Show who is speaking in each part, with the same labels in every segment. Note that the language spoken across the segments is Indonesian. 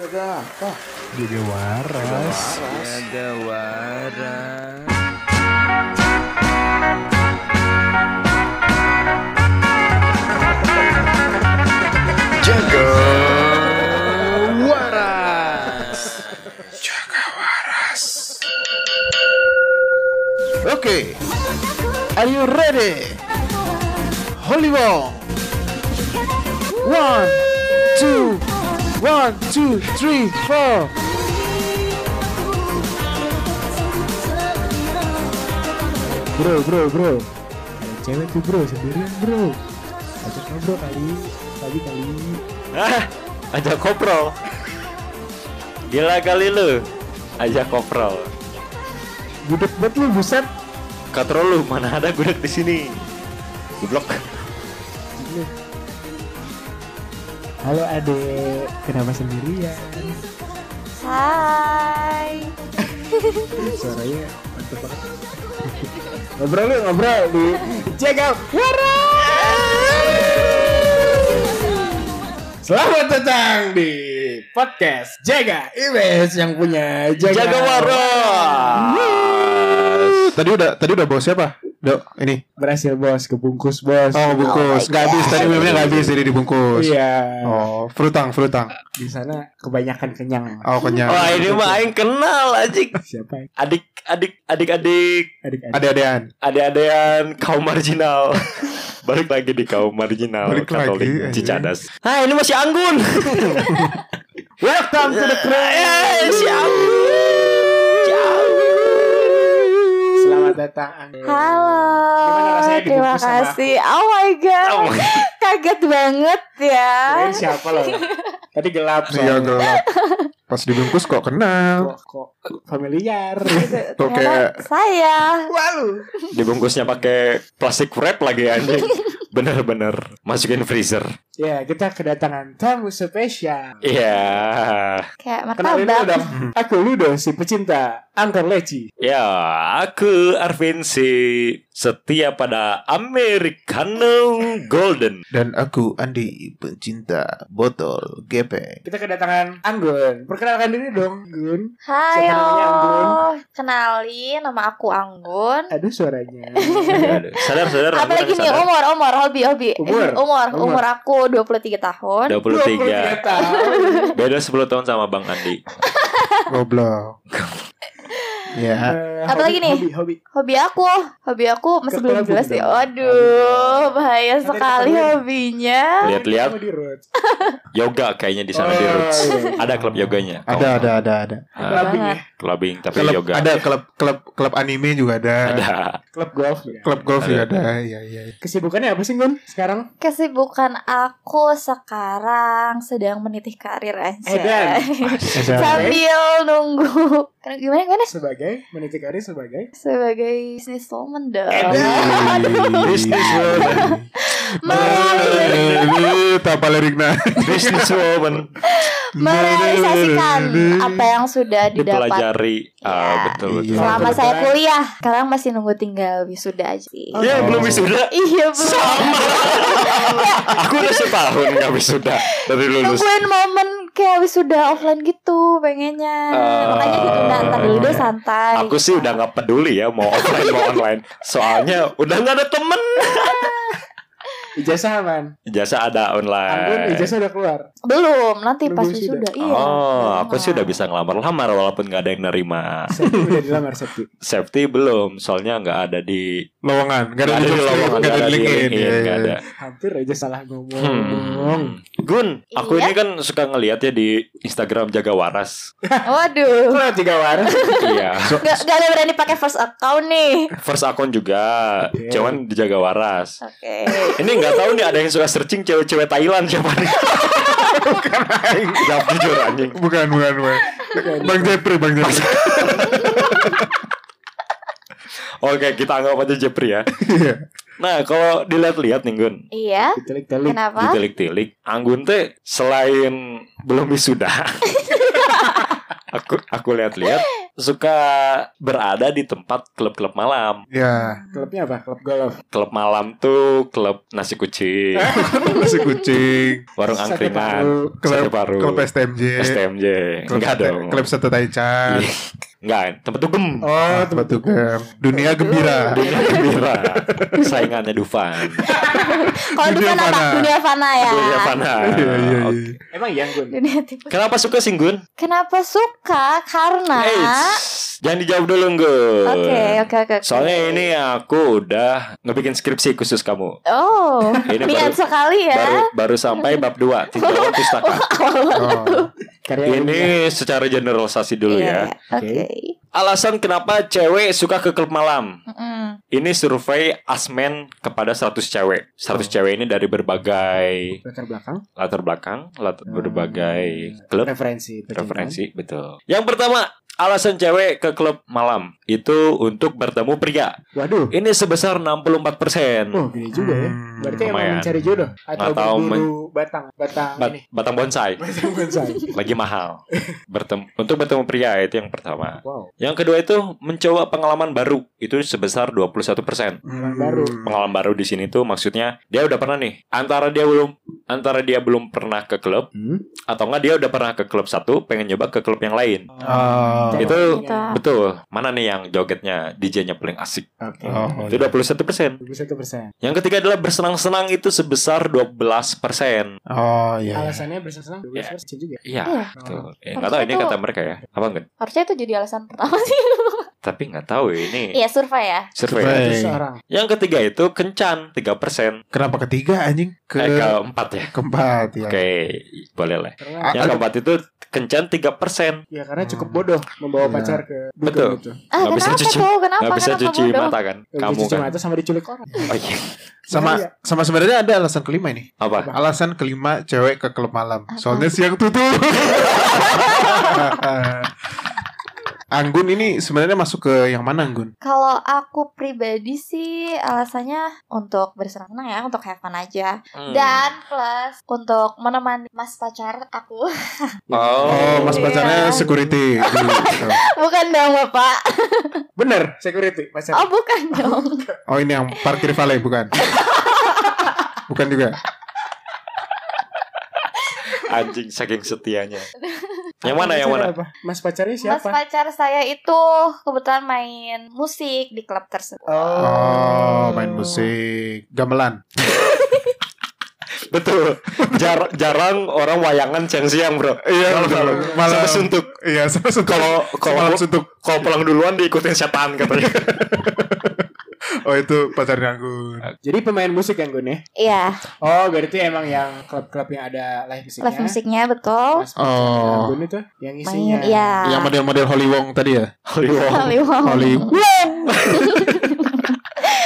Speaker 1: Jaga apa?
Speaker 2: Jaga waras.
Speaker 3: Jaga waras.
Speaker 1: Jaga.
Speaker 3: Waras.
Speaker 1: Oke. Are you ready? Hollywood. One, two, one, two, three, four.
Speaker 2: Bro, bro, bro. Ada cewek tuh bro, sendirian bro. Ajak ngobrol kali, kali kali.
Speaker 4: Ah, ajak koprol. Gila kali lu. Ajak koprol.
Speaker 2: Gudeg banget lu buset.
Speaker 4: Katro lu mana ada gudeg di sini. Goblok.
Speaker 2: Gila. Halo adek, kenapa sendirian?
Speaker 5: Hai.
Speaker 2: Suaranya mantep banget. ngobrol lu, ngobrol di Jaga
Speaker 1: Selamat datang di podcast Jaga IBS yang punya Jaga,
Speaker 4: Jaga waras.
Speaker 3: Tadi udah tadi udah bos siapa? Dok, ini.
Speaker 2: Berhasil bos, kebungkus bos.
Speaker 3: Oh, bungkus. Gak habis tadi minumnya gak habis jadi dibungkus.
Speaker 2: Iya.
Speaker 3: Oh, frutang, frutang.
Speaker 2: Di sana kebanyakan kenyang.
Speaker 3: Oh, kenyang.
Speaker 4: Wah, ini mah aing kenal anjing.
Speaker 2: Siapa?
Speaker 4: Adik adik adik adik
Speaker 2: Adik-adik.
Speaker 3: Ada-adaan.
Speaker 4: adik-adikan kaum marginal. Balik lagi di kaum marginal
Speaker 3: Balik
Speaker 4: Katolik
Speaker 3: lagi, anjing.
Speaker 4: Cicadas. Ah, ini masih Anggun.
Speaker 2: Welcome to the
Speaker 4: Eh, si Anggun. Si Anggun.
Speaker 2: Selamat datang Anggun. Gimana
Speaker 5: Halo.
Speaker 2: rasanya
Speaker 5: Terima
Speaker 2: dibungkus sama-
Speaker 5: kasih. Oh my god.
Speaker 4: Oh my God.
Speaker 5: Kaget banget ya.
Speaker 2: Kirain siapa loh? Tadi gelap
Speaker 3: Iya,
Speaker 2: soalnya.
Speaker 3: gelap. Pas dibungkus kok kenal.
Speaker 2: Kok, kok familiar.
Speaker 3: Tuh kayak
Speaker 5: Gitu. Ternyata saya.
Speaker 2: Walu.
Speaker 4: dibungkusnya pakai plastik wrap lagi anjing bener-bener masukin freezer
Speaker 2: Ya, kita kedatangan tamu spesial.
Speaker 4: iya
Speaker 5: Kayak
Speaker 2: Kenalin dulu
Speaker 5: martabak.
Speaker 2: dong. Aku Ludo si pecinta Angkor Leci.
Speaker 4: ya aku Arvin si setia pada Americano Golden
Speaker 3: dan aku Andi pencinta botol gepeng.
Speaker 2: Kita kedatangan Anggun. Perkenalkan diri dong, Anggun.
Speaker 5: Hai.
Speaker 2: Siapa namanya Anggun?
Speaker 5: oh. Kenalin nama aku Anggun.
Speaker 2: Aduh suaranya.
Speaker 4: Ya, Aduh, sadar sadar aku
Speaker 5: Apalagi
Speaker 4: nggak
Speaker 5: nih
Speaker 4: sadar.
Speaker 5: umur, umur, hobi, hobi.
Speaker 2: Umur,
Speaker 5: Eh, umur,
Speaker 2: umur.
Speaker 5: umur aku 23 tahun.
Speaker 4: 23
Speaker 2: tahun.
Speaker 4: beda 10 tahun sama Bang Andi
Speaker 3: Goblok. ya.
Speaker 2: Eh,
Speaker 5: Apa
Speaker 2: hobi-
Speaker 5: lagi nih?
Speaker 2: Hobi, hobi.
Speaker 5: Hobi aku, hobi aku masih belum
Speaker 2: Kekelabut
Speaker 5: jelas ya.
Speaker 2: dong.
Speaker 5: Waduh, bahaya
Speaker 2: Nanti
Speaker 5: sekali
Speaker 2: ditemuin.
Speaker 5: hobinya.
Speaker 4: lihat-lihat
Speaker 2: Kamu di Roots.
Speaker 4: yoga kayaknya di sana di Roots
Speaker 2: Oh, iya.
Speaker 4: ada klub yoganya
Speaker 3: Ada ada ada ada.
Speaker 4: Ah,
Speaker 2: Clubbing ya.
Speaker 4: clubbing tapi
Speaker 3: Klub,
Speaker 4: yoga
Speaker 3: ada klub klub klub anime juga ada.
Speaker 4: ada
Speaker 2: Klub golf. ya.
Speaker 3: Klub golf juga
Speaker 4: Ada.
Speaker 3: ada. Iya iya.
Speaker 2: Kesibukannya apa sih, Gun? Sekarang?
Speaker 5: Kesibukan aku sekarang sedang menitih karir aja.
Speaker 2: Edan.
Speaker 5: Sambil nunggu. Kan- Gimana gimana?
Speaker 2: Sebagai meniti karir sebagai
Speaker 5: Sebagai businesswoman dong.
Speaker 4: Business woman
Speaker 5: Mereali-
Speaker 3: Tapa liriknya
Speaker 4: Business woman
Speaker 5: Merealisasikan apa yang sudah didapat.
Speaker 4: dipelajari ah
Speaker 5: Ya.
Speaker 4: betul betul
Speaker 3: Iya.
Speaker 5: Selama
Speaker 2: Betul.
Speaker 5: saya kuliah, sekarang masih nunggu tinggal wisuda aja. sih.
Speaker 2: Oh.
Speaker 4: Ya belum wisuda
Speaker 5: Iya belum.
Speaker 4: Aku udah setahun gak wisuda Dari lulus
Speaker 5: Nungguin momen kayak wisuda offline gitu pengennya.
Speaker 4: Ah.
Speaker 5: Makanya ditunda ntar dulu deh santai.
Speaker 4: Aku sih udah gak peduli ya Mau offline mau online Soalnya udah gak ada temen
Speaker 2: ijazah aman.
Speaker 4: Jasa ada
Speaker 2: Anggun
Speaker 4: online
Speaker 2: ijazah udah keluar.
Speaker 5: belum nanti
Speaker 2: Nunggu
Speaker 5: pas
Speaker 2: wisuda.
Speaker 5: wisuda. Iya.
Speaker 4: Oh aku sih
Speaker 5: Lama.
Speaker 4: udah bisa ngelamar-lamar Walaupun gak ada yang nerima
Speaker 2: Septi udah dilamar Septi.
Speaker 4: Safety belum Soalnya gak ada di
Speaker 3: Lowongan Gak ada
Speaker 4: nggak
Speaker 3: di lowongan Gak ada di LinkedIn Iya,
Speaker 4: LinkedIn,
Speaker 3: iya,
Speaker 4: nggak
Speaker 3: iya.
Speaker 4: ada
Speaker 2: Hampir aja salah ngomong.
Speaker 4: Hmm. Gun, aku
Speaker 5: Iya.
Speaker 4: ini kan suka ngeliat ya di Instagram jaga waras.
Speaker 5: Waduh.
Speaker 2: Keluar Nah, tiga waras.
Speaker 4: Iya.
Speaker 5: Gak, gak ada berani pakai first account nih.
Speaker 4: First akun juga,
Speaker 2: Oke.
Speaker 3: Iya.
Speaker 4: cuman di jaga waras.
Speaker 5: Oke.
Speaker 4: Ini nggak tahu nih ada yang suka searching cewek-cewek Thailand siapa nih? Jawab jujur anjing.
Speaker 3: Bukan bukan bukan Bang Jepri Bang Jepri
Speaker 4: Oke, kita anggap aja Jepri ya.
Speaker 3: Iya.
Speaker 4: Nah, kalau dilihat-lihat nih Gun,
Speaker 5: Iya.
Speaker 2: Ditelik-telik.
Speaker 5: Kenapa?
Speaker 4: gitu. ditilik-tilik, Anggun teh selain belum wisuda, aku aku lihat-lihat suka berada di tempat klub-klub malam.
Speaker 3: Ya,
Speaker 2: Klubnya apa? Klub golf.
Speaker 4: Klub malam tuh klub nasi kucing,
Speaker 3: nasi kucing,
Speaker 4: warung
Speaker 2: Sate
Speaker 4: angkringan,
Speaker 2: Paru.
Speaker 4: sate
Speaker 3: klub,
Speaker 4: Kan, paru,
Speaker 3: klub STMJ,
Speaker 4: STMJ. Enggak
Speaker 3: sate-
Speaker 4: dong.
Speaker 3: klub sate taichan.
Speaker 4: Iya. Enggak, tempat dugem.
Speaker 2: Oh,
Speaker 3: Tempat dugem. Dunia gembira.
Speaker 4: Dunia gembira. Saingannya Dufan.
Speaker 5: Kalau Dufan
Speaker 3: Dunia
Speaker 5: apa?
Speaker 3: fana.
Speaker 5: Dunia fana ya.
Speaker 4: Dunia fana.
Speaker 3: Iya, iya, iya.
Speaker 2: Emang yang gue.
Speaker 5: Dunia tipu.
Speaker 4: Ah, Kenapa suka sih Gun?
Speaker 5: Kenapa suka? Karena
Speaker 4: Eits, jangan dijawab dulu Gun.
Speaker 5: Oke, oke, oke. oke.
Speaker 4: Soalnya ini aku udah ngebikin skripsi khusus kamu.
Speaker 5: Oh,
Speaker 4: Ini
Speaker 5: niat
Speaker 4: baru-
Speaker 5: sekali ya.
Speaker 4: Baru baru sampai bab 2 tinjauan pustaka.
Speaker 3: Oh.
Speaker 2: Karya ilmiah.
Speaker 4: Ini secara generalisasi dulu ya.
Speaker 5: Iya, Oke.
Speaker 4: Alasan kenapa cewek suka ke klub malam?
Speaker 5: Mm-mm.
Speaker 4: Ini survei Asmen kepada 100 cewek. 100
Speaker 3: Oh.
Speaker 4: cewek ini dari berbagai
Speaker 2: ya? latar belakang
Speaker 4: latar belakang, latar
Speaker 2: Hmm.
Speaker 4: berbagai klub,
Speaker 2: referensi pecinta.
Speaker 4: referensi, betul. Yang pertama, alasan cewek ke klub malam itu untuk bertemu pria.
Speaker 2: Waduh.
Speaker 4: Ini sebesar 64%.
Speaker 2: Oh, gini juga ya.
Speaker 3: Hmm,
Speaker 2: Berarti emang
Speaker 4: lumayan.
Speaker 2: mencari jodoh atau
Speaker 4: Atau
Speaker 2: berburu batang batang
Speaker 4: Bat-
Speaker 2: ini.
Speaker 4: batang bonsai
Speaker 2: Batang bonsai.
Speaker 4: lagi mahal. Bertemu untuk bertemu pria itu yang pertama.
Speaker 2: Wow,
Speaker 4: Yang kedua itu mencoba pengalaman baru itu sebesar 21%.
Speaker 2: orang
Speaker 3: Hmm.
Speaker 2: baru.
Speaker 4: Pengalaman baru di sini tuh maksudnya dia udah pernah nih antara dia belum antara dia belum pernah ke klub
Speaker 2: Hmm?
Speaker 4: atau enggak dia udah pernah ke klub satu pengen nyoba ke klub yang lain.
Speaker 2: Hmm?
Speaker 3: Oh.
Speaker 2: Cari
Speaker 4: Itu-
Speaker 2: pecinta.
Speaker 4: Betul. Mana nih yang jogetnya DJ-nya paling asik?
Speaker 2: Oke.
Speaker 3: Oh,
Speaker 4: Itu 21%.
Speaker 2: 21%.
Speaker 4: Yang ketiga adalah bersenang-senang itu sebesar 12%.
Speaker 3: Oh iya.
Speaker 2: Alasannya bersenang-senang 12% juga.
Speaker 4: Iya,
Speaker 5: Iya.
Speaker 4: betul. Eh, nggak tahu ini kata mereka ya. Apa enggak?
Speaker 5: Harusnya itu jadi alasan pertama sih.
Speaker 4: Tapi nggak tahu ini.
Speaker 5: Iya, survei ya.
Speaker 4: Survei.
Speaker 3: Survei.
Speaker 2: Itu seorang.
Speaker 4: Yang ketiga itu kencan 3% persen
Speaker 3: Kenapa ketiga anjing?
Speaker 4: Eh
Speaker 3: Ke
Speaker 4: keempat ya
Speaker 3: keempat ya.
Speaker 4: Oke boleh lah
Speaker 2: Karena
Speaker 3: Ah,
Speaker 4: Yang keempat itu kencan 3% persen
Speaker 2: ya karena cukup
Speaker 3: Hmm.
Speaker 2: bodoh membawa
Speaker 3: Iya.
Speaker 2: pacar ke gitu. dugem
Speaker 4: Betul.
Speaker 2: itu.
Speaker 5: Ah,
Speaker 4: Nggak bisa
Speaker 5: kenapa
Speaker 4: cuci-
Speaker 5: tuh? Kenapa?
Speaker 4: Gak bisa
Speaker 5: kenapa
Speaker 4: cuci
Speaker 5: bodoh?
Speaker 4: mata kan Kamu
Speaker 2: Kamu
Speaker 4: kan
Speaker 2: mata sama diculik orang.
Speaker 4: oh, iya.
Speaker 3: Sama
Speaker 2: Bahaya.
Speaker 3: sama sebenarnya ada alasan kelima ini.
Speaker 4: Apa?
Speaker 3: Alasan kelima cewek ke klub malam.
Speaker 5: Apa?
Speaker 3: Soalnya siang tutup. Anggun ini sebenarnya masuk ke yang mana Anggun?
Speaker 5: Kalau aku pribadi sih alasannya untuk bersenang-senang ya, untuk have fun aja.
Speaker 4: Hmm.
Speaker 5: Dan plus untuk menemani mas pacar aku.
Speaker 4: Oh,
Speaker 3: Oh, mas
Speaker 5: Iya.
Speaker 3: pacarnya security. Gitu.
Speaker 5: bukan dong, Bapak.
Speaker 2: Bener, security pacar.
Speaker 5: Oh, bukan dong.
Speaker 3: Oh ini yang parkir vale bukan? Bukan juga.
Speaker 4: Anjing saking setianya Yang mana yang
Speaker 2: Pacarnya
Speaker 4: mana
Speaker 2: apa? Mas pacarnya
Speaker 5: mas
Speaker 2: siapa?
Speaker 5: pacar saya itu kebetulan main musik di klub tersebut.
Speaker 3: Oh, main musik gamelan.
Speaker 4: Betul Jar- Jarang orang wayangan siang-siang bro
Speaker 3: Iya,
Speaker 4: Malam-malam.
Speaker 3: betul. Malam.
Speaker 4: Sampai suntuk
Speaker 3: Iya, sama suntuk.
Speaker 4: Kalau kalau
Speaker 3: Malam suntuk.
Speaker 4: kalau pulang duluan diikutin setan katanya
Speaker 3: Oh itu pacarnya Anggun.
Speaker 2: Jadi pemain musik kan Gun ya?
Speaker 5: Iya,
Speaker 2: Oh, berarti emang yang klub-klub yang ada live musiknya.
Speaker 5: live musiknya betul.
Speaker 2: ya? Mas
Speaker 3: Oh.
Speaker 2: Gun itu yang
Speaker 5: Main,
Speaker 2: isinya.
Speaker 5: iya.
Speaker 3: Yang model-model Holly Wong tadi ya?
Speaker 4: Hollywood
Speaker 5: Kali mau.
Speaker 3: Holly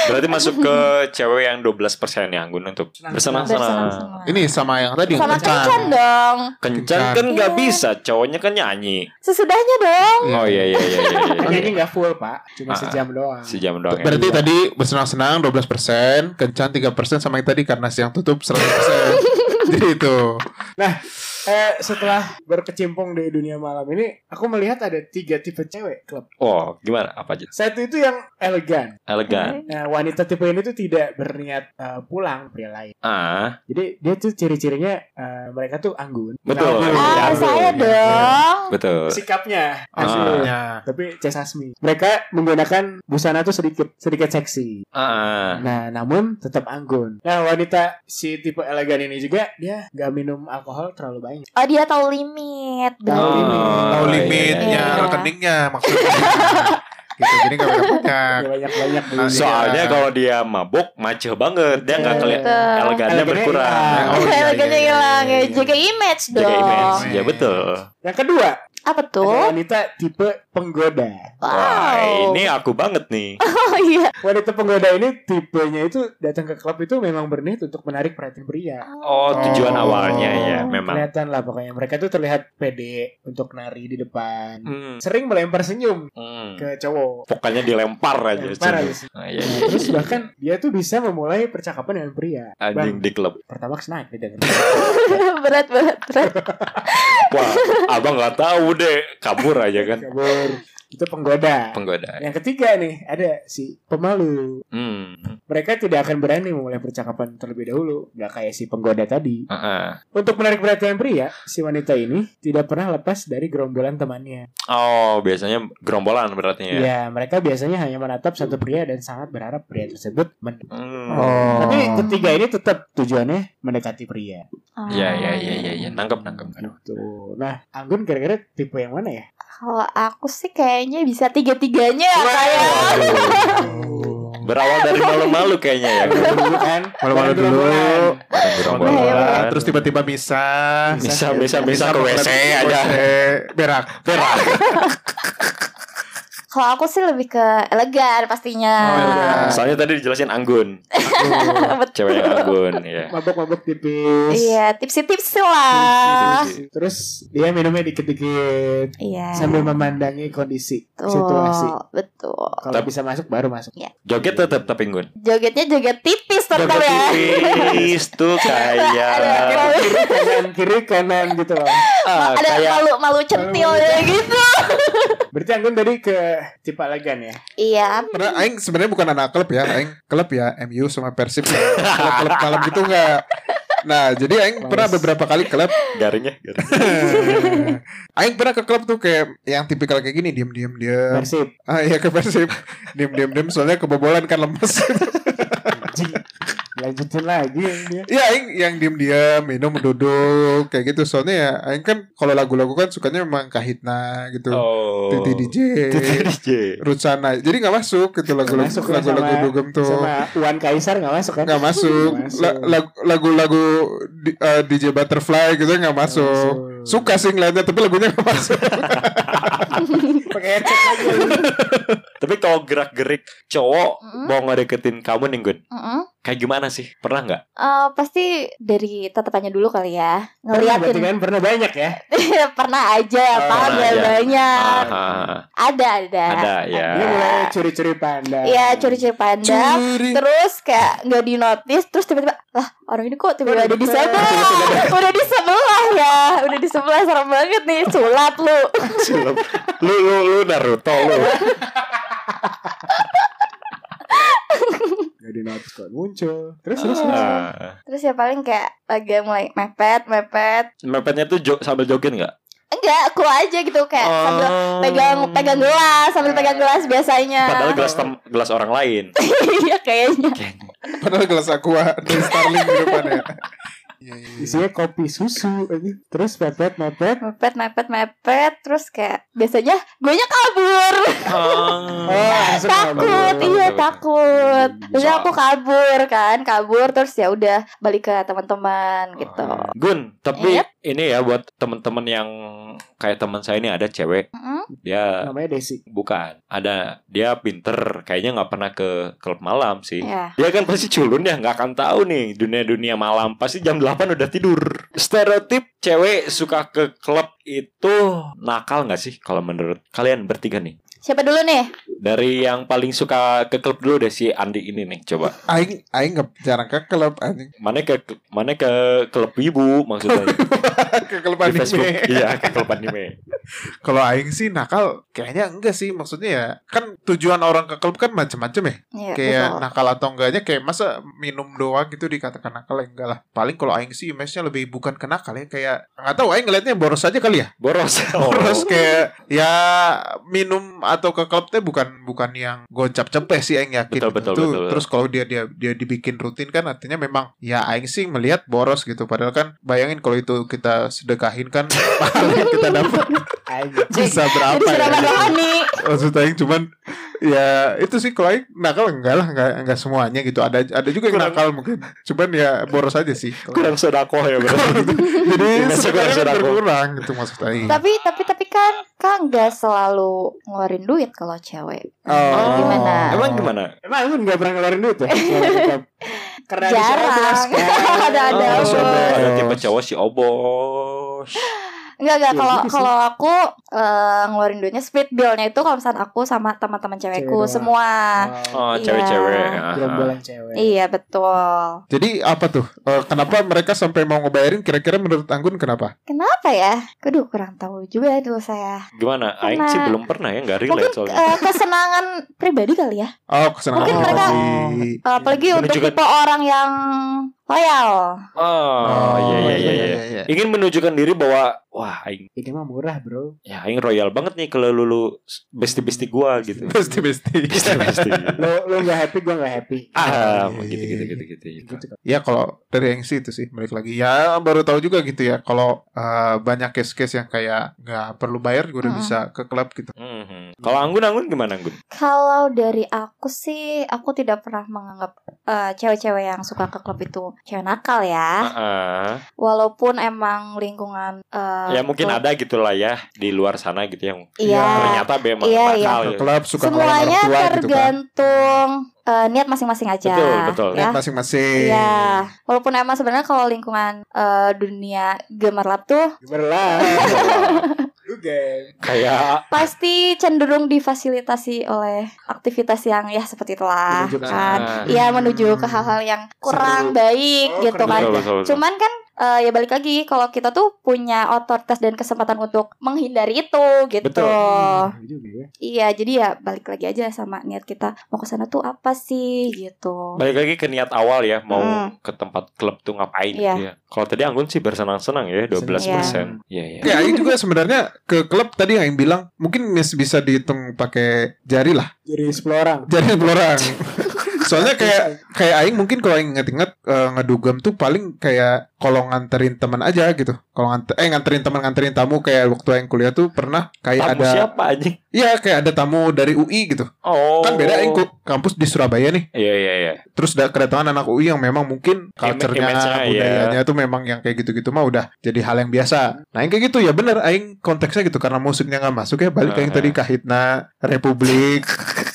Speaker 4: Berarti masuk ke cewek yang 12% ya Anggun untuk bersenang-senang.
Speaker 5: Bersenang-senang.
Speaker 3: Ini sama yang tadi yang
Speaker 5: Sama
Speaker 3: kencan.
Speaker 5: kencan dong.
Speaker 4: Kencan kan nggak bisa, cowoknya kan nyanyi.
Speaker 5: Sesudahnya dong.
Speaker 3: Iya.
Speaker 4: Oh iya iya iya iya.
Speaker 2: Kan
Speaker 4: iya.
Speaker 2: ini nggak full pak, cuma
Speaker 4: Ah.
Speaker 2: sejam doang.
Speaker 4: Sejam doang. Ya.
Speaker 3: Berarti tadi bersenang-senang 12%, kencan 3% sama yang tadi karena siang tutup 100%. Jadi itu.
Speaker 2: Eh setelah berkecimpung di dunia malam ini, aku melihat ada tiga tipe cewek klub.
Speaker 4: Oh gimana? Apa aja?
Speaker 2: Satu itu yang elegan.
Speaker 4: Elegan.
Speaker 2: Nah, wanita tipe ini tuh tidak berniat eh, pulang pria lain.
Speaker 4: Ah
Speaker 2: Jadi dia tuh ciri-cirinya eh, mereka tuh anggun.
Speaker 4: betul.
Speaker 2: Nah,
Speaker 5: Ah,
Speaker 2: anggun.
Speaker 5: saya dong.
Speaker 4: Betul.
Speaker 2: Sikapnya
Speaker 4: Ah.
Speaker 2: asli.
Speaker 3: Ya.
Speaker 2: Tapi cesasmi. Mereka menggunakan busana tuh sedikit sedikit seksi.
Speaker 4: Ah
Speaker 2: Nah, namun tetap anggun. Nah, wanita si tipe elegan ini juga dia nggak minum alkohol terlalu banyak.
Speaker 5: Oh dia tahu limit.
Speaker 2: Tahu
Speaker 5: Bro.
Speaker 2: limit.
Speaker 3: Tahu
Speaker 4: iya,
Speaker 3: limitnya,
Speaker 5: iya.
Speaker 3: rekeningnya maksudnya. gitu, jadi gak banyak-banyak.
Speaker 2: Nggak banyak-banyak
Speaker 4: Ah.
Speaker 2: beli.
Speaker 3: So-
Speaker 4: iya. Soalnya kalau dia mabuk maceh banget, dia iya, nggak kelihatan
Speaker 5: Betul.
Speaker 4: elegannya
Speaker 2: Elegannya
Speaker 4: berkurang.
Speaker 2: hilang.
Speaker 3: Oh, iya,
Speaker 5: Elegannya
Speaker 3: iya,
Speaker 5: hilang
Speaker 3: iya,
Speaker 5: ya.
Speaker 3: iya.
Speaker 5: Jaga image dong.
Speaker 4: Jaga image, ya
Speaker 3: Image.
Speaker 4: betul.
Speaker 2: Yang kedua,
Speaker 5: Apa
Speaker 2: ada
Speaker 5: tuh?
Speaker 2: wanita tipe penggoda.
Speaker 4: Wah,
Speaker 5: Wow.
Speaker 4: ini aku banget nih.
Speaker 5: Oh iya.
Speaker 2: Wanita penggoda ini tipenya itu datang ke klub itu memang berniat untuk menarik perhatian pria.
Speaker 4: Oh, tujuan
Speaker 3: Oh.
Speaker 4: awalnya ya memang.
Speaker 2: Kelihatan lah pokoknya mereka tuh terlihat pede untuk nari di depan.
Speaker 4: Hmm.
Speaker 2: Sering melempar senyum
Speaker 4: hmm.
Speaker 2: ke cowok.
Speaker 4: Pokoknya dilempar aja.
Speaker 2: Lempar
Speaker 4: cuy.
Speaker 2: aja sih.
Speaker 4: Ah, iya,
Speaker 2: Nah,
Speaker 4: iya.
Speaker 2: terus bahkan dia tuh bisa memulai percakapan dengan pria. Bang,
Speaker 4: Anjing di klub.
Speaker 2: pertama snack gitu.
Speaker 5: berat berat berat.
Speaker 4: Wah, abang nggak tahu deh kabur aja kan
Speaker 2: kabur itu penggoda
Speaker 4: penggoda
Speaker 2: yang ketiga nih ada si pemalu
Speaker 4: hmm
Speaker 2: mereka tidak akan berani memulai percakapan terlebih dahulu nggak kayak si penggoda tadi
Speaker 4: Heeh.
Speaker 2: untuk menarik perhatian pria si wanita ini tidak pernah lepas dari gerombolan temannya
Speaker 4: oh biasanya gerombolan berarti ya
Speaker 2: ya mereka biasanya hanya menatap satu pria dan sangat berharap pria tersebut men-
Speaker 4: Hmm.
Speaker 3: Oh.
Speaker 2: tapi ketiga ini tetap tujuannya mendekati pria
Speaker 5: Oh.
Speaker 4: Iya iya iya iya ya. nangkep nangkep.
Speaker 2: gitu nah Anggun kira-kira tipe yang mana ya
Speaker 5: Kalau aku sih kayaknya bisa tiga-tiganya ya, kayak
Speaker 4: Berawal dari malu-malu kayaknya ya.
Speaker 2: Malu-malu kan. dulu kan
Speaker 3: Malu-malu
Speaker 2: Jangan
Speaker 3: dulu.
Speaker 2: gerombolan.
Speaker 4: Orang gerombolan.
Speaker 5: Iya,
Speaker 3: Nah, Terus tiba-tiba bisa
Speaker 4: ya, bisa bisa bisa ke WC aja.
Speaker 3: Berak Berak
Speaker 5: kalau aku sih lebih ke elegan pastinya.
Speaker 3: Oh, elegan.
Speaker 4: Soalnya tadi dijelasin Anggun. Ceweknya Anggun ya.
Speaker 2: mabok-mabok tipis
Speaker 5: Iya, tipsi-tipsi lah.
Speaker 2: Terus dia minumnya dikit-dikit
Speaker 5: Iya.
Speaker 2: sambil memandangi kondisi
Speaker 5: Betul,
Speaker 2: situasi.
Speaker 5: Betul.
Speaker 2: Kalau
Speaker 4: Tapi-
Speaker 2: bisa masuk baru masuk.
Speaker 4: Joget tetap tapi Anggun.
Speaker 5: Jogetnya joget tipis tetap
Speaker 4: Joget
Speaker 5: ya.
Speaker 4: tipis Iya. tuh kayak
Speaker 5: Ada-
Speaker 2: Kiri kanan kiri kanan gitu loh.
Speaker 4: ah,
Speaker 5: Ada
Speaker 4: kayak Iya.
Speaker 5: malu-malu centil ya gitu.
Speaker 2: Berarti Anggun tadi ke tipe elegan ya.
Speaker 5: Iya.
Speaker 3: Karena Aing sebenarnya bukan anak klub ya Aing klub ya MU sama Persib Kalau klub malam gitu enggak Nah jadi Aing pernah beberapa kali klub
Speaker 4: garingnya. garingnya.
Speaker 3: Aing pernah ke klub tuh kayak Yang tipikal kayak gini Diem-diem diem
Speaker 2: Persib.
Speaker 3: Ah iya ke Persib Diem-diem diem Soalnya kebobolan kan lemes
Speaker 2: Anjing. Lanjutin lagi yang dia.
Speaker 3: Iya Aing yang diem-diem Minum duduk Kayak gitu Soalnya ya Aing kan Kalau lagu-lagu kan sukanya memang kahitna gitu
Speaker 4: Oh.
Speaker 3: Titi DJ
Speaker 4: Titi DJ.
Speaker 3: Rucana Jadi gak masuk gitu lagu-lagu
Speaker 2: Masuk lah
Speaker 3: lagu-lagu
Speaker 2: sama-
Speaker 3: dugem tuh
Speaker 2: Sama Wan Kaisar nggak masuk kan?
Speaker 3: nggak masuk
Speaker 2: Nggak masuk.
Speaker 3: La- lagu- lagu-lagu di- eh, DJ Butterfly gitu nggak masuk
Speaker 2: masuk.
Speaker 3: suka sih ngeliatnya tapi lagunya nggak masuk
Speaker 2: Pakai headset lagi.
Speaker 4: Tapi kalau gerak-gerik cowok
Speaker 5: Mm-mm.
Speaker 4: mau ngedeketin kamu nih Gun.
Speaker 5: Mm-mm.
Speaker 4: Kayak gimana sih? Pernah nggak?
Speaker 5: Eh, pasti dari tatapannya dulu kali ya
Speaker 2: Pernah berarti
Speaker 5: ngeliatin
Speaker 2: kan pernah banyak ya.
Speaker 5: pernah, aja ya
Speaker 2: Oh,
Speaker 5: Pak,
Speaker 4: pernah
Speaker 5: biar
Speaker 4: aja.
Speaker 5: banyak
Speaker 4: Ah,
Speaker 5: ada ada
Speaker 4: ada ya.
Speaker 2: Dia mulai curi-curi pandang.
Speaker 5: Iya curi-curi pandang
Speaker 3: Curi.
Speaker 5: Terus kayak nggak di notice Terus tiba-tiba Lah orang ini kok tiba-tiba
Speaker 2: Udah
Speaker 5: ada di
Speaker 2: deket.
Speaker 5: sana Udah di sebelah ya Udah di sebelah serem banget nih Sulap lu
Speaker 4: Sulap. Lu lu lu Naruto lu.
Speaker 2: Jadi notis kok muncul. Terus terus. terus.
Speaker 4: Ah.
Speaker 5: Terus ya paling kayak agak mulai mepet mepet
Speaker 4: Mepetnya tuh jo- sambil joget nggak?
Speaker 5: Enggak aku aja gitu kayak sambil
Speaker 4: Oh.
Speaker 5: pegang pegang gelas sambil pegang gelas biasanya
Speaker 4: Padahal gelas tem- gelas orang lain.
Speaker 5: iya kayaknya
Speaker 3: padahal gelas aqua dari Starling di depannya Iya, iya, iya.
Speaker 2: Isinya kopi susu. Terus mepet mepet.
Speaker 5: mepet mepet mepet terus kayak biasanya guenya kabur
Speaker 2: Oh,
Speaker 4: Ah.
Speaker 2: langsung
Speaker 5: takut
Speaker 2: kabur.
Speaker 5: iya
Speaker 4: Betul,
Speaker 5: takut terus
Speaker 4: Soal-
Speaker 5: aku kabur kan kabur terus ya udah balik ke teman-teman gitu
Speaker 4: iya. Gun, tapi
Speaker 5: Yep.
Speaker 4: ini ya buat temen-temen yang kayak teman saya ini ada cewek,
Speaker 5: Mm-mm.
Speaker 4: dia
Speaker 2: Namanya Desi.
Speaker 4: bukan, ada dia pinter, kayaknya nggak pernah ke klub malam sih.
Speaker 5: ya
Speaker 3: Iya.
Speaker 4: Dia kan pasti culun ya, nggak akan tahu nih dunia-dunia malam. Pasti jam 8 udah tidur. Stereotip cewek suka ke klub itu nakal nggak sih kalau menurut kalian bertiga nih?
Speaker 5: siapa dulu nih
Speaker 4: Dari yang paling suka ke klub dulu deh si Andi ini nih, coba.
Speaker 3: Aing Aing nggak jarang ke klub anjing
Speaker 4: Mana ke mana ke klub ibu maksudnya
Speaker 3: ke klub
Speaker 4: di Facebook.
Speaker 3: anime
Speaker 4: Iya, ke klub anime.
Speaker 3: kalau Aing sih nakal kayaknya enggak sih maksudnya ya kan tujuan orang ke klub kan macam-macam ya
Speaker 5: Iya,
Speaker 3: kayak
Speaker 5: betul.
Speaker 3: nakal atau enggaknya kayak masa minum doang gitu dikatakan nakal ya enggak lah paling kalau Aing sih image-nya lebih bukan ke nakal ya kayak nggak tahu Aing ngeliatnya boros aja kali ya
Speaker 4: Boros. Oh.
Speaker 3: Terus kayak ya minum atau ke klub teh bukan bukan yang gocap cepeh sih aing yakin.
Speaker 4: Betul, betul,
Speaker 3: Itu,
Speaker 4: betul.
Speaker 3: Terus kalau dia dia dia dibikin rutin kan artinya memang ya aing sih melihat boros gitu padahal kan bayangin kalau itu kita sedekahin kan pahala yang kita dapat
Speaker 2: Anjing.
Speaker 3: bisa
Speaker 5: jadi
Speaker 3: berapa
Speaker 5: sudah
Speaker 3: ya.
Speaker 5: rohani
Speaker 3: Maksud aing cuman ya itu sih kalau aing nakal enggak lah enggak enggak semuanya gitu. Ada ada juga yang
Speaker 4: Kurang-
Speaker 3: nakal mungkin. Cuman ya boros aja sih.
Speaker 4: kurang Iya, sodakoh ya berarti.
Speaker 3: Jadi
Speaker 4: Kurang-
Speaker 3: sedekahnya kan
Speaker 4: kurang-
Speaker 3: berkurang gitu maksud aing.
Speaker 5: tapi tapi tapi kan kan nggak selalu ngeluarin duit kalau cewek
Speaker 3: Oh.
Speaker 5: gimana
Speaker 4: Emang gimana?
Speaker 2: Emang lu gak pernah ngeluarin duit ya? Selama di klub? Karena
Speaker 5: Jarang.
Speaker 2: ada
Speaker 5: Ada-ada.
Speaker 4: Oh,
Speaker 5: Ada
Speaker 4: si
Speaker 2: ada
Speaker 4: obos.
Speaker 3: obos.
Speaker 4: Ada tipe cowok si obos.
Speaker 5: Enggak enggak
Speaker 2: Iya,
Speaker 5: kalau
Speaker 2: gitu sih.
Speaker 5: kalau aku eh, ngeluarin duitnya split bill-nya itu kalau misalnya aku sama teman-teman cewekku
Speaker 2: doang.
Speaker 5: semua.
Speaker 4: Oh,
Speaker 5: Iya.
Speaker 4: cewek-cewek. Aha.
Speaker 2: Gerombolan cewek.
Speaker 5: Iya betul.
Speaker 3: Jadi apa tuh? Eh, kenapa mereka sampai mau ngebayarin? Kira-kira menurut Anggun kenapa?
Speaker 5: Kenapa ya? Aduh kurang tahu juga ya dulu saya.
Speaker 4: Gimana? Aing sih
Speaker 5: Karena-
Speaker 4: belum pernah ya nggak
Speaker 5: Nah. Mungkin
Speaker 4: relate soalnya.
Speaker 5: eh, kesenangan pribadi kali ya.
Speaker 3: Oh, kesenangan
Speaker 5: Mungkin mereka-
Speaker 3: pribadi.
Speaker 5: Apalagi
Speaker 4: Menuju
Speaker 5: untuk
Speaker 4: ke-
Speaker 5: tipe orang yang loyal.
Speaker 4: Oh, iya iya iya. iya.
Speaker 3: iya.
Speaker 4: Ingin menunjukkan diri bahwa wah aing
Speaker 2: Ini mah murah bro.
Speaker 4: ya aing royal banget nih kalau lulu besti-besti gua gitu.
Speaker 3: Besti besti.
Speaker 4: Besti-besti.
Speaker 2: Lo lo nggak happy, gua nggak happy.
Speaker 4: ah,
Speaker 3: Iya,
Speaker 4: gitu
Speaker 3: iya, iya.
Speaker 4: gitu gitu gitu. gitu.
Speaker 2: Gitu kan.
Speaker 3: Ya kalau dari Engsi itu sih balik lagi ya baru tahu juga gitu ya kalau eh, banyak case-case yang kayak nggak perlu bayar gue udah
Speaker 5: Mm-mm.
Speaker 3: bisa ke klub gitu.
Speaker 4: Mhm. Kalau Anggun Anggun gimana Anggun?
Speaker 5: Kalau dari aku sih, aku tidak pernah menganggap eh, cewek-cewek yang suka ke klub itu cewek nakal ya.
Speaker 4: Ah,
Speaker 5: Walaupun emang lingkungan eh,
Speaker 4: ya mungkin
Speaker 5: klub-
Speaker 4: ada gitulah ya di luar sana gitu yang
Speaker 5: Iya.
Speaker 4: ternyata memang
Speaker 5: Iya, iya.
Speaker 4: nakal
Speaker 3: Ke
Speaker 4: ya.
Speaker 3: klub suka ngelawan
Speaker 5: Semuanya
Speaker 3: orang tua gitu kan.
Speaker 5: tergantung eh, niat masing-masing aja.
Speaker 4: Betul, betul.
Speaker 5: Ya.
Speaker 3: Lihat masing-masing.
Speaker 5: Iya. Walaupun emang sebenarnya kalau lingkungan eh, dunia gemerlap tuh
Speaker 2: Gemerlap. Juga.
Speaker 4: Kayak
Speaker 5: pasti cenderung difasilitasi oleh aktivitas yang ya seperti itulah
Speaker 2: Menuju ke
Speaker 5: kan.
Speaker 4: sana.
Speaker 5: Iya menuju ke hal-hal yang
Speaker 2: Hmm.
Speaker 5: kurang
Speaker 2: Seru.
Speaker 5: baik
Speaker 2: Oh,
Speaker 5: gitu
Speaker 2: kurang
Speaker 5: kan.
Speaker 4: betul, betul, betul.
Speaker 5: Cuman kan eh, ya balik lagi kalau kita tuh punya otoritas dan kesempatan untuk menghindari itu gitu.
Speaker 4: Betul.
Speaker 2: Hmm, Juga ya.
Speaker 5: Iya, jadi ya balik lagi aja sama niat kita mau ke sana tuh apa sih gitu.
Speaker 4: Oh. balik lagi ke niat awal ya mau
Speaker 5: Hmm.
Speaker 4: ke tempat klub tuh ngapain
Speaker 5: Iya.
Speaker 4: gitu ya. Kalau tadi Anggun sih bersenang-senang ya 12%. Iya iya.
Speaker 3: Kayak Aing Ya, juga sebenarnya ke klub tadi yang Aing bilang mungkin mis- bisa dihitung pakai jari lah.
Speaker 2: Jadi sepuluh orang. eh,
Speaker 3: Jari orang. Soalnya kayak kayak aing mungkin kalau aing inget-inget eh, ngedugem tuh paling kayak kalau nganterin teman aja gitu. Kalau nganter eh nganterin teman nganterin tamu kayak waktu aing kuliah tuh pernah kayak
Speaker 4: Tamu
Speaker 3: ada
Speaker 4: siapa anjing?
Speaker 3: iya kayak ada tamu dari UI gitu.
Speaker 4: Oh.
Speaker 3: Kan beda aing ku- kampus di Surabaya nih.
Speaker 4: Iya iya iya.
Speaker 3: Terus da- kedatangan anak UI yang memang mungkin culture-nya
Speaker 4: image-nya, iya.
Speaker 3: budayanya tuh memang yang kayak gitu-gitu mah udah jadi hal yang biasa. Nah, yang kayak gitu ya bener aing konteksnya gitu karena musiknya nggak masuk ya balik
Speaker 4: Heeh.
Speaker 3: aing tadi Kahitna, Republik,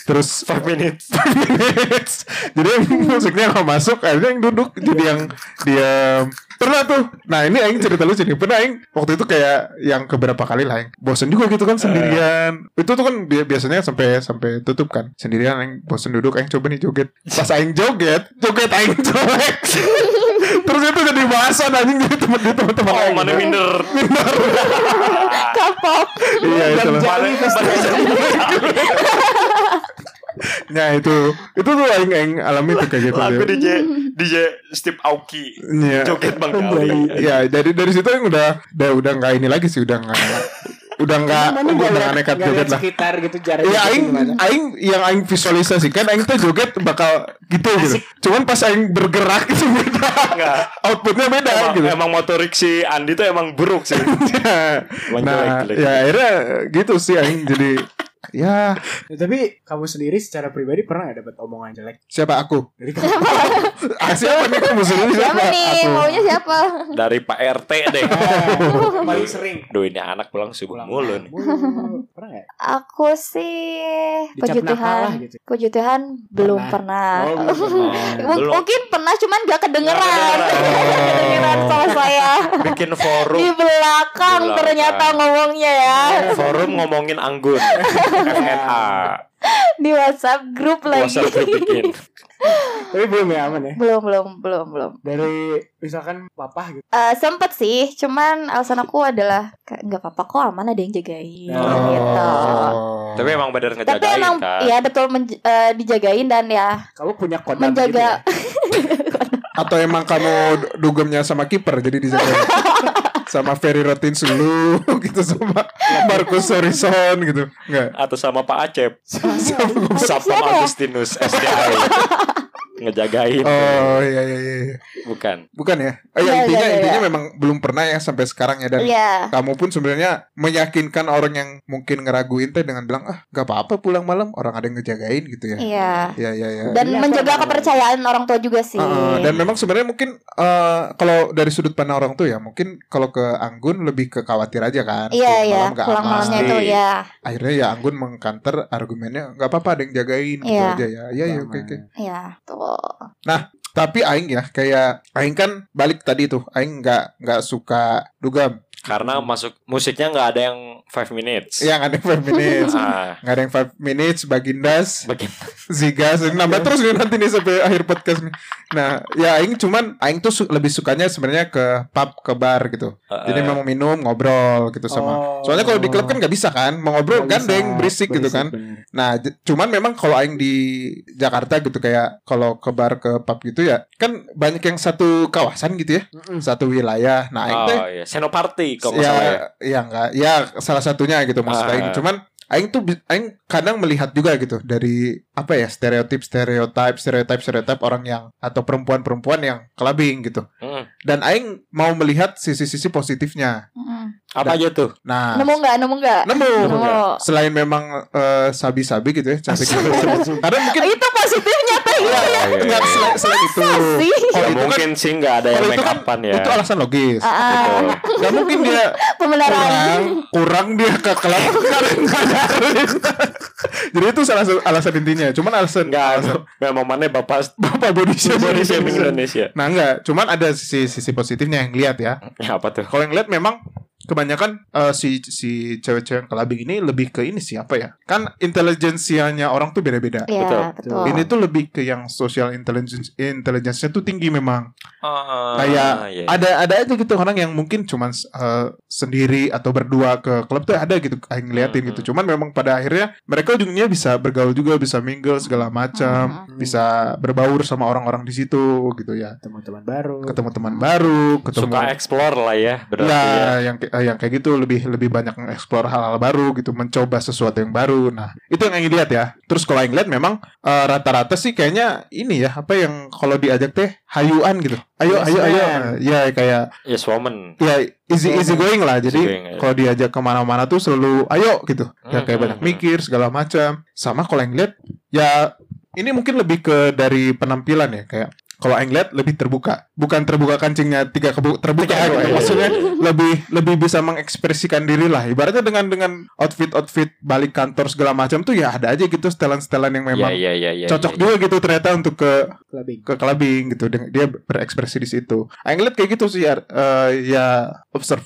Speaker 3: terus
Speaker 4: 5 minutes.
Speaker 3: minutes. Jadi musiknya nggak masuk, akhirnya yang duduk jadi yang diam. Pernah tuh. Nah ini Aing cerita lucu nih. Pernah Aing waktu itu kayak yang keberapa kali lah Aing bosen juga gitu kan sendirian. Itu tuh kan bi- biasanya sampai sampai tutup kan. Sendirian Aing bosen duduk Aing coba nih joget. Pas Aing joget, joget Aing jelek. Terus itu jadi bahasan anjing jadi temen di teman-teman
Speaker 4: Oh,
Speaker 3: Aing.
Speaker 4: mana minder.
Speaker 5: Kapok.
Speaker 3: Iya itu lah.
Speaker 4: Mana-
Speaker 3: Nah itu itu tuh Aing Aing alami tuh kayak gitu.
Speaker 4: Lagu
Speaker 3: dia.
Speaker 4: DJ DJ Steve Aoki.
Speaker 3: Iya.
Speaker 4: Joget Bang
Speaker 2: Kembali.
Speaker 4: Kali.
Speaker 3: ya dari dari situ yang udah udah udah nggak ini lagi sih udah nggak udah nggak
Speaker 2: Mana nggak
Speaker 3: udah nggak
Speaker 2: lihat-
Speaker 3: nekat
Speaker 2: nggak
Speaker 3: joget
Speaker 2: lihat
Speaker 3: lah
Speaker 2: Sekitar gitu jaraknya.
Speaker 3: Iya
Speaker 2: gitu
Speaker 3: aing
Speaker 2: gimana.
Speaker 3: aing yang aing visualisasikan aing tuh joget bakal gitu gitu. Cuman pas aing bergerak itu beda.
Speaker 4: Enggak.
Speaker 3: Outputnya beda
Speaker 4: Emang,
Speaker 3: gitu.
Speaker 4: emang motorik si Andi tuh emang buruk sih.
Speaker 3: nah,
Speaker 4: jelek, jelek.
Speaker 3: ya akhirnya gitu sih aing jadi ya
Speaker 2: Ya, tapi kamu sendiri secara pribadi pernah nggak dapat omongan jelek
Speaker 3: siapa aku?
Speaker 2: dari kamu?
Speaker 3: Ah, siapa nih kamu sendiri
Speaker 5: Siapa
Speaker 3: siapa?
Speaker 5: nih?
Speaker 3: Aku.
Speaker 5: Maunya siapa?
Speaker 4: Dari Pak RT deh.
Speaker 2: Eh, paling sering.
Speaker 4: Duh ini anak pulang subuh mulu nih.
Speaker 2: Mulu. Pernah nggak?
Speaker 5: Aku sih
Speaker 2: Dicap
Speaker 5: puji
Speaker 2: nakal
Speaker 5: Tuhan.
Speaker 2: lah gitu.
Speaker 5: Puji Tuhan belum pernah.
Speaker 2: Oh, belum pernah.
Speaker 5: Mung-
Speaker 4: Belum.
Speaker 5: Mungkin pernah cuman gak kedengeran.
Speaker 4: Nggak kedengeran.
Speaker 5: kedengeran sama saya.
Speaker 4: Bikin forum
Speaker 5: Di belakang
Speaker 4: Belakang. Iya.
Speaker 5: ternyata ngomongnya ya.
Speaker 4: forum ngomongin Anggun FNA
Speaker 5: Di WhatsApp grup lagi.
Speaker 4: WhatsApp group bikin
Speaker 2: Tapi belum ya aman ya.
Speaker 5: belum, belum, belum, belum.
Speaker 2: Dari misalkan papa gitu.
Speaker 5: Eh, sempet sih, cuman alasan aku adalah "Kayak, nggak apa-apa kok aman ada yang jagain
Speaker 2: Oh.
Speaker 5: gitu.
Speaker 3: Oh.
Speaker 4: tapi emang bener ngejagain
Speaker 5: Tapi emang
Speaker 4: kan
Speaker 3: iya.
Speaker 5: ya betul menj- eh, dijagain dan ya
Speaker 2: Kamu punya kodam gitu ya?
Speaker 5: menjaga
Speaker 3: Atau emang kamu d- dugemnya sama kiper jadi di sama Ferry Rotins dulu gitu sama Marcus Horizon gitu. Enggak.
Speaker 4: atau sama Pak Acep
Speaker 5: siapa
Speaker 4: Sapam
Speaker 5: ya?
Speaker 4: Agustinus SDI ngejagain
Speaker 3: Oh iya iya iya.
Speaker 4: bukan
Speaker 3: Bukan ya? Eh,
Speaker 5: Iya,
Speaker 3: ya, intinya
Speaker 5: iya, iya,
Speaker 3: intinya
Speaker 5: iya.
Speaker 3: memang belum pernah ya sampai sekarang ya dan
Speaker 5: Iya.
Speaker 3: kamu pun sebenarnya meyakinkan orang yang mungkin ngeraguin teh dengan bilang ah gak apa-apa pulang malam orang ada yang ngejagain gitu ya.
Speaker 5: Iya.
Speaker 3: Iya iya iya.
Speaker 5: Dan
Speaker 2: Iya,
Speaker 5: menjaga
Speaker 2: kan.
Speaker 5: kepercayaan orang tua juga sih.
Speaker 3: Heeh, dan memang sebenarnya mungkin eh, kalau dari sudut pandang orang tuh ya mungkin kalau ke Anggun lebih ke khawatir aja kan.
Speaker 5: Iya
Speaker 3: Pulang
Speaker 5: iya
Speaker 3: malam nggak
Speaker 5: pulang
Speaker 3: aman.
Speaker 5: malamnya
Speaker 4: Pasti.
Speaker 5: itu ya
Speaker 3: akhirnya ya Anggun mengkanter argumennya nggak apa-apa ada yang jagain gitu
Speaker 5: Iya.
Speaker 3: aja ya ya ya oke oke
Speaker 5: ya tuh
Speaker 3: tapi Aing ya kayak Aing kan balik tadi tuh Aing nggak nggak suka dugam
Speaker 4: Karena masuk musiknya nggak ada yang 5 minutes.
Speaker 3: Yang Iya, ada 5 minutes
Speaker 4: Ah,
Speaker 3: Nggak ada yang 5 minutes Bagindas
Speaker 4: bagian
Speaker 3: Zigas ini nambah terus nih nanti nih sampai akhir podcast nih. Nah, ya aing cuman aing tuh su- lebih sukanya sebenarnya ke pub, ke bar gitu. Jadi
Speaker 4: Eh,
Speaker 3: memang minum, ngobrol gitu sama.
Speaker 2: Oh.
Speaker 3: Soalnya kalau di klub kan nggak bisa kan, mau ngobrol gandeng, berisik, gitu kan. Nah, j- cuman memang kalau aing di Jakarta gitu kayak kalau ke bar ke pub gitu ya, kan banyak yang satu kawasan gitu ya, satu wilayah. Nah, aing teh
Speaker 4: Oh iya, Senoparty kalau nggak
Speaker 3: ya,
Speaker 4: salah ya.
Speaker 3: ya enggak. Ya salah satunya gitu maksud
Speaker 4: Ah.
Speaker 3: aing. Cuman aing tuh bi- aing kadang melihat juga gitu dari apa ya stereotip stereotip stereotip stereotip orang yang atau perempuan-perempuan yang kelabing gitu.
Speaker 4: Hmm.
Speaker 3: Dan aing mau melihat sisi-sisi positifnya.
Speaker 5: Mm.
Speaker 4: Apa aja tuh?
Speaker 3: Nah,
Speaker 5: Nemu nggak? Nemu nggak?
Speaker 3: nemu.
Speaker 5: Nemu.
Speaker 3: Selain memang eh, sabi-sabi gitu ya cantik Karena mungkin
Speaker 5: Oh, Itu positifnya teh
Speaker 4: Oh,
Speaker 5: gitu ya.
Speaker 4: iya, iya.
Speaker 3: enggak selain, selain itu.
Speaker 5: sih?
Speaker 4: Ya,
Speaker 3: Kalau itu kan
Speaker 4: mungkin sih nggak ada yang
Speaker 3: kalau itu
Speaker 4: make
Speaker 3: kan
Speaker 4: upan ya.
Speaker 3: itu alasan logis.
Speaker 5: Ah, ah,
Speaker 4: Betul.
Speaker 3: Gak mungkin dia
Speaker 5: pembenaran.
Speaker 4: Iya.
Speaker 3: kurang kurang dia ke kelab jadi itu salah satu alasan intinya cuman alasan
Speaker 4: Nggak, memang mana bapak
Speaker 3: apa body
Speaker 4: body
Speaker 3: shaming.
Speaker 4: shaming Indonesia.
Speaker 3: nah enggak cuman ada sisi sisi positifnya yang lihat ya
Speaker 4: Ya, apa tuh?
Speaker 3: kalau yang lihat memang kebanyakan eh, si si cewek-cewek yang kelabing ini lebih ke ini sih apa ya kan intelijensianya orang tuh beda-beda
Speaker 5: Iya,
Speaker 4: Betul.
Speaker 5: betul.
Speaker 2: Ah.
Speaker 3: Ini tuh lebih ke yang social intelligence intelligence-nya tuh tinggi memang.
Speaker 5: ah,
Speaker 3: Ah, kayak
Speaker 4: iya.
Speaker 3: ada ada aja gitu orang yang mungkin cuman eh, sendiri atau berdua ke klub tuh ada gitu yang ngeliatin
Speaker 4: Hmm,
Speaker 3: gitu cuman memang pada akhirnya mereka ujungnya bisa bergaul juga bisa mingle segala macam
Speaker 2: Hmm.
Speaker 3: bisa berbaur sama orang-orang di situ gitu ya
Speaker 2: teman-teman baru
Speaker 3: ketemu teman baru ketemu
Speaker 4: suka explore lah ya berarti
Speaker 3: Nah,
Speaker 4: ya.
Speaker 3: yang ki- eh, yang kayak gitu lebih lebih banyak mengeksplor hal-hal baru gitu, mencoba sesuatu yang baru. Nah, itu yang ingin lihat ya. Terus kalau yang lihat memang eh, rata-rata sih kayaknya ini ya apa yang kalau diajak teh hayuan gitu. Ayo
Speaker 2: Yes,
Speaker 3: ayo ayo.
Speaker 2: man.
Speaker 3: Eh, Ya kayak
Speaker 4: Yes woman.
Speaker 3: ya easy easy going lah.
Speaker 4: Iya, Easy
Speaker 3: Jadi
Speaker 4: going, ya.
Speaker 3: kalau diajak kemana-mana tuh selalu ayo gitu.
Speaker 4: Hmm,
Speaker 3: Ya kayak
Speaker 4: hmm,
Speaker 3: banyak
Speaker 4: hmm.
Speaker 3: mikir segala macam. Sama kalau yang lihat ya ini mungkin lebih ke dari penampilan ya kayak kalau yang lihat lebih terbuka, bukan terbuka kancingnya tiga kebu
Speaker 4: Tiga
Speaker 3: terbuka gitu ya.
Speaker 4: kebuka,
Speaker 3: maksudnya
Speaker 4: iya, iya.
Speaker 3: lebih lebih bisa mengekspresikan diri lah. Ibaratnya dengan dengan outfit outfit balik kantor segala macam tuh ya ada aja gitu setelan-setelan yang memang
Speaker 4: ya, ya, ya, ya,
Speaker 3: cocok
Speaker 4: ya,
Speaker 3: juga gitu ternyata untuk ke
Speaker 2: clubbing
Speaker 3: ke clubbing gitu Deng- dia berekspresi di situ. Aing lihat kayak gitu sih ya, eh, ya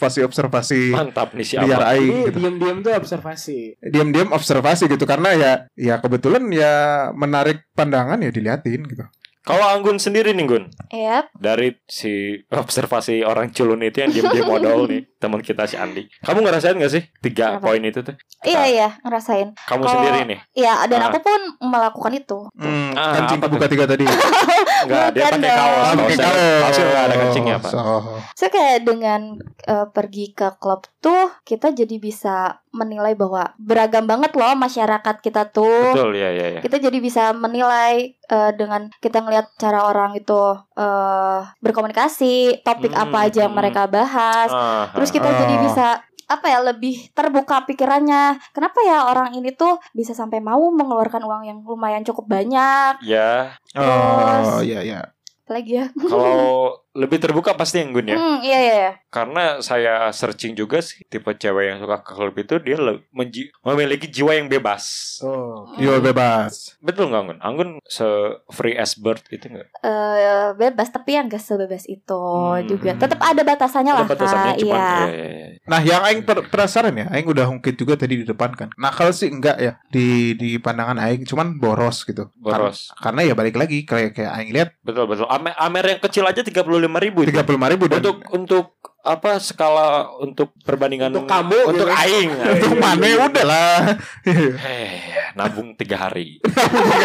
Speaker 3: observasi-observasi
Speaker 4: Mantap nih si
Speaker 3: liar
Speaker 4: Abang.
Speaker 3: aing
Speaker 2: ini
Speaker 3: gitu.
Speaker 2: diam-diam tuh observasi
Speaker 3: Diam-diam observasi gitu karena ya ya kebetulan ya menarik pandangan ya diliatin gitu.
Speaker 4: Kalau Anggun sendiri nih Gun
Speaker 5: Yap.
Speaker 4: Dari si observasi orang culun itu yang diem-diem modal nih Teman kita si Andi Kamu ngerasain gak sih tiga
Speaker 5: Apa?
Speaker 4: poin itu tuh?
Speaker 5: Iya iya ngerasain.
Speaker 4: Kamu
Speaker 5: Kalau-
Speaker 4: sendiri nih
Speaker 5: Iya dan
Speaker 4: Ah.
Speaker 5: aku pun melakukan itu.
Speaker 3: Hmm,
Speaker 4: Ah,
Speaker 3: kancing
Speaker 4: apa
Speaker 3: kebuka tiga tadi.
Speaker 4: Enggak, dia
Speaker 5: Bukan
Speaker 4: pakai
Speaker 5: dong.
Speaker 4: kaos
Speaker 5: Ah,
Speaker 3: Pakai
Speaker 4: kaosnya-
Speaker 3: kaos.
Speaker 4: Kaosnya nggak ada kancingnya Pak
Speaker 3: Oh, So,
Speaker 5: Saya kayak dengan eh, pergi ke klub tuh kita jadi bisa menilai bahwa beragam banget loh masyarakat kita tuh.
Speaker 4: Betul, ya, ya, ya
Speaker 5: Kita jadi bisa menilai eh, dengan kita ngelihat cara orang itu eh berkomunikasi, topik
Speaker 4: Hmm,
Speaker 5: apa aja yang
Speaker 4: hmm.
Speaker 5: mereka bahas.
Speaker 4: Ah,
Speaker 5: Terus kita
Speaker 3: Ah.
Speaker 5: jadi bisa apa ya lebih terbuka pikirannya. Kenapa ya orang ini tuh bisa sampai mau mengeluarkan uang yang lumayan cukup banyak?
Speaker 4: Ya,
Speaker 3: oh, ya ya.
Speaker 5: Apalagi ya.
Speaker 4: kalau lebih terbuka pasti yang Gun ya
Speaker 5: Hmm, iya iya. iya.
Speaker 4: Karena saya searching juga sih Tipe cewek yang suka ke klub itu Dia le- menji- memiliki jiwa yang bebas
Speaker 2: oh
Speaker 3: Yo bebas.
Speaker 4: Betul nggak Anggun? Anggun se free as bird itu nggak?
Speaker 5: eh bebas tapi yang gak sebebas itu
Speaker 4: Hmm.
Speaker 5: juga tetap ada batasannya
Speaker 4: Ada
Speaker 5: lah
Speaker 4: batasannya
Speaker 5: Kak.
Speaker 4: cuman
Speaker 5: iya
Speaker 4: ya, ya, ya.
Speaker 3: Nah, yang aing per- penasaran ya, aing udah ungkit juga tadi di depan kan. Nah, kalau sih enggak ya di di pandangan aing cuman boros gitu. Karena-
Speaker 4: boros.
Speaker 3: Karena, ya balik lagi kayak kayak aing lihat
Speaker 4: Betul betul. Amer, Amer yang kecil aja 35.000 ribu.
Speaker 3: 35 ribu dan
Speaker 4: Untuk untuk apa skala untuk perbandingan
Speaker 2: Untuk kamu,
Speaker 4: untuk
Speaker 2: gitu.
Speaker 4: aing
Speaker 3: untuk mana udah lah.
Speaker 4: Heh, nabung tiga hari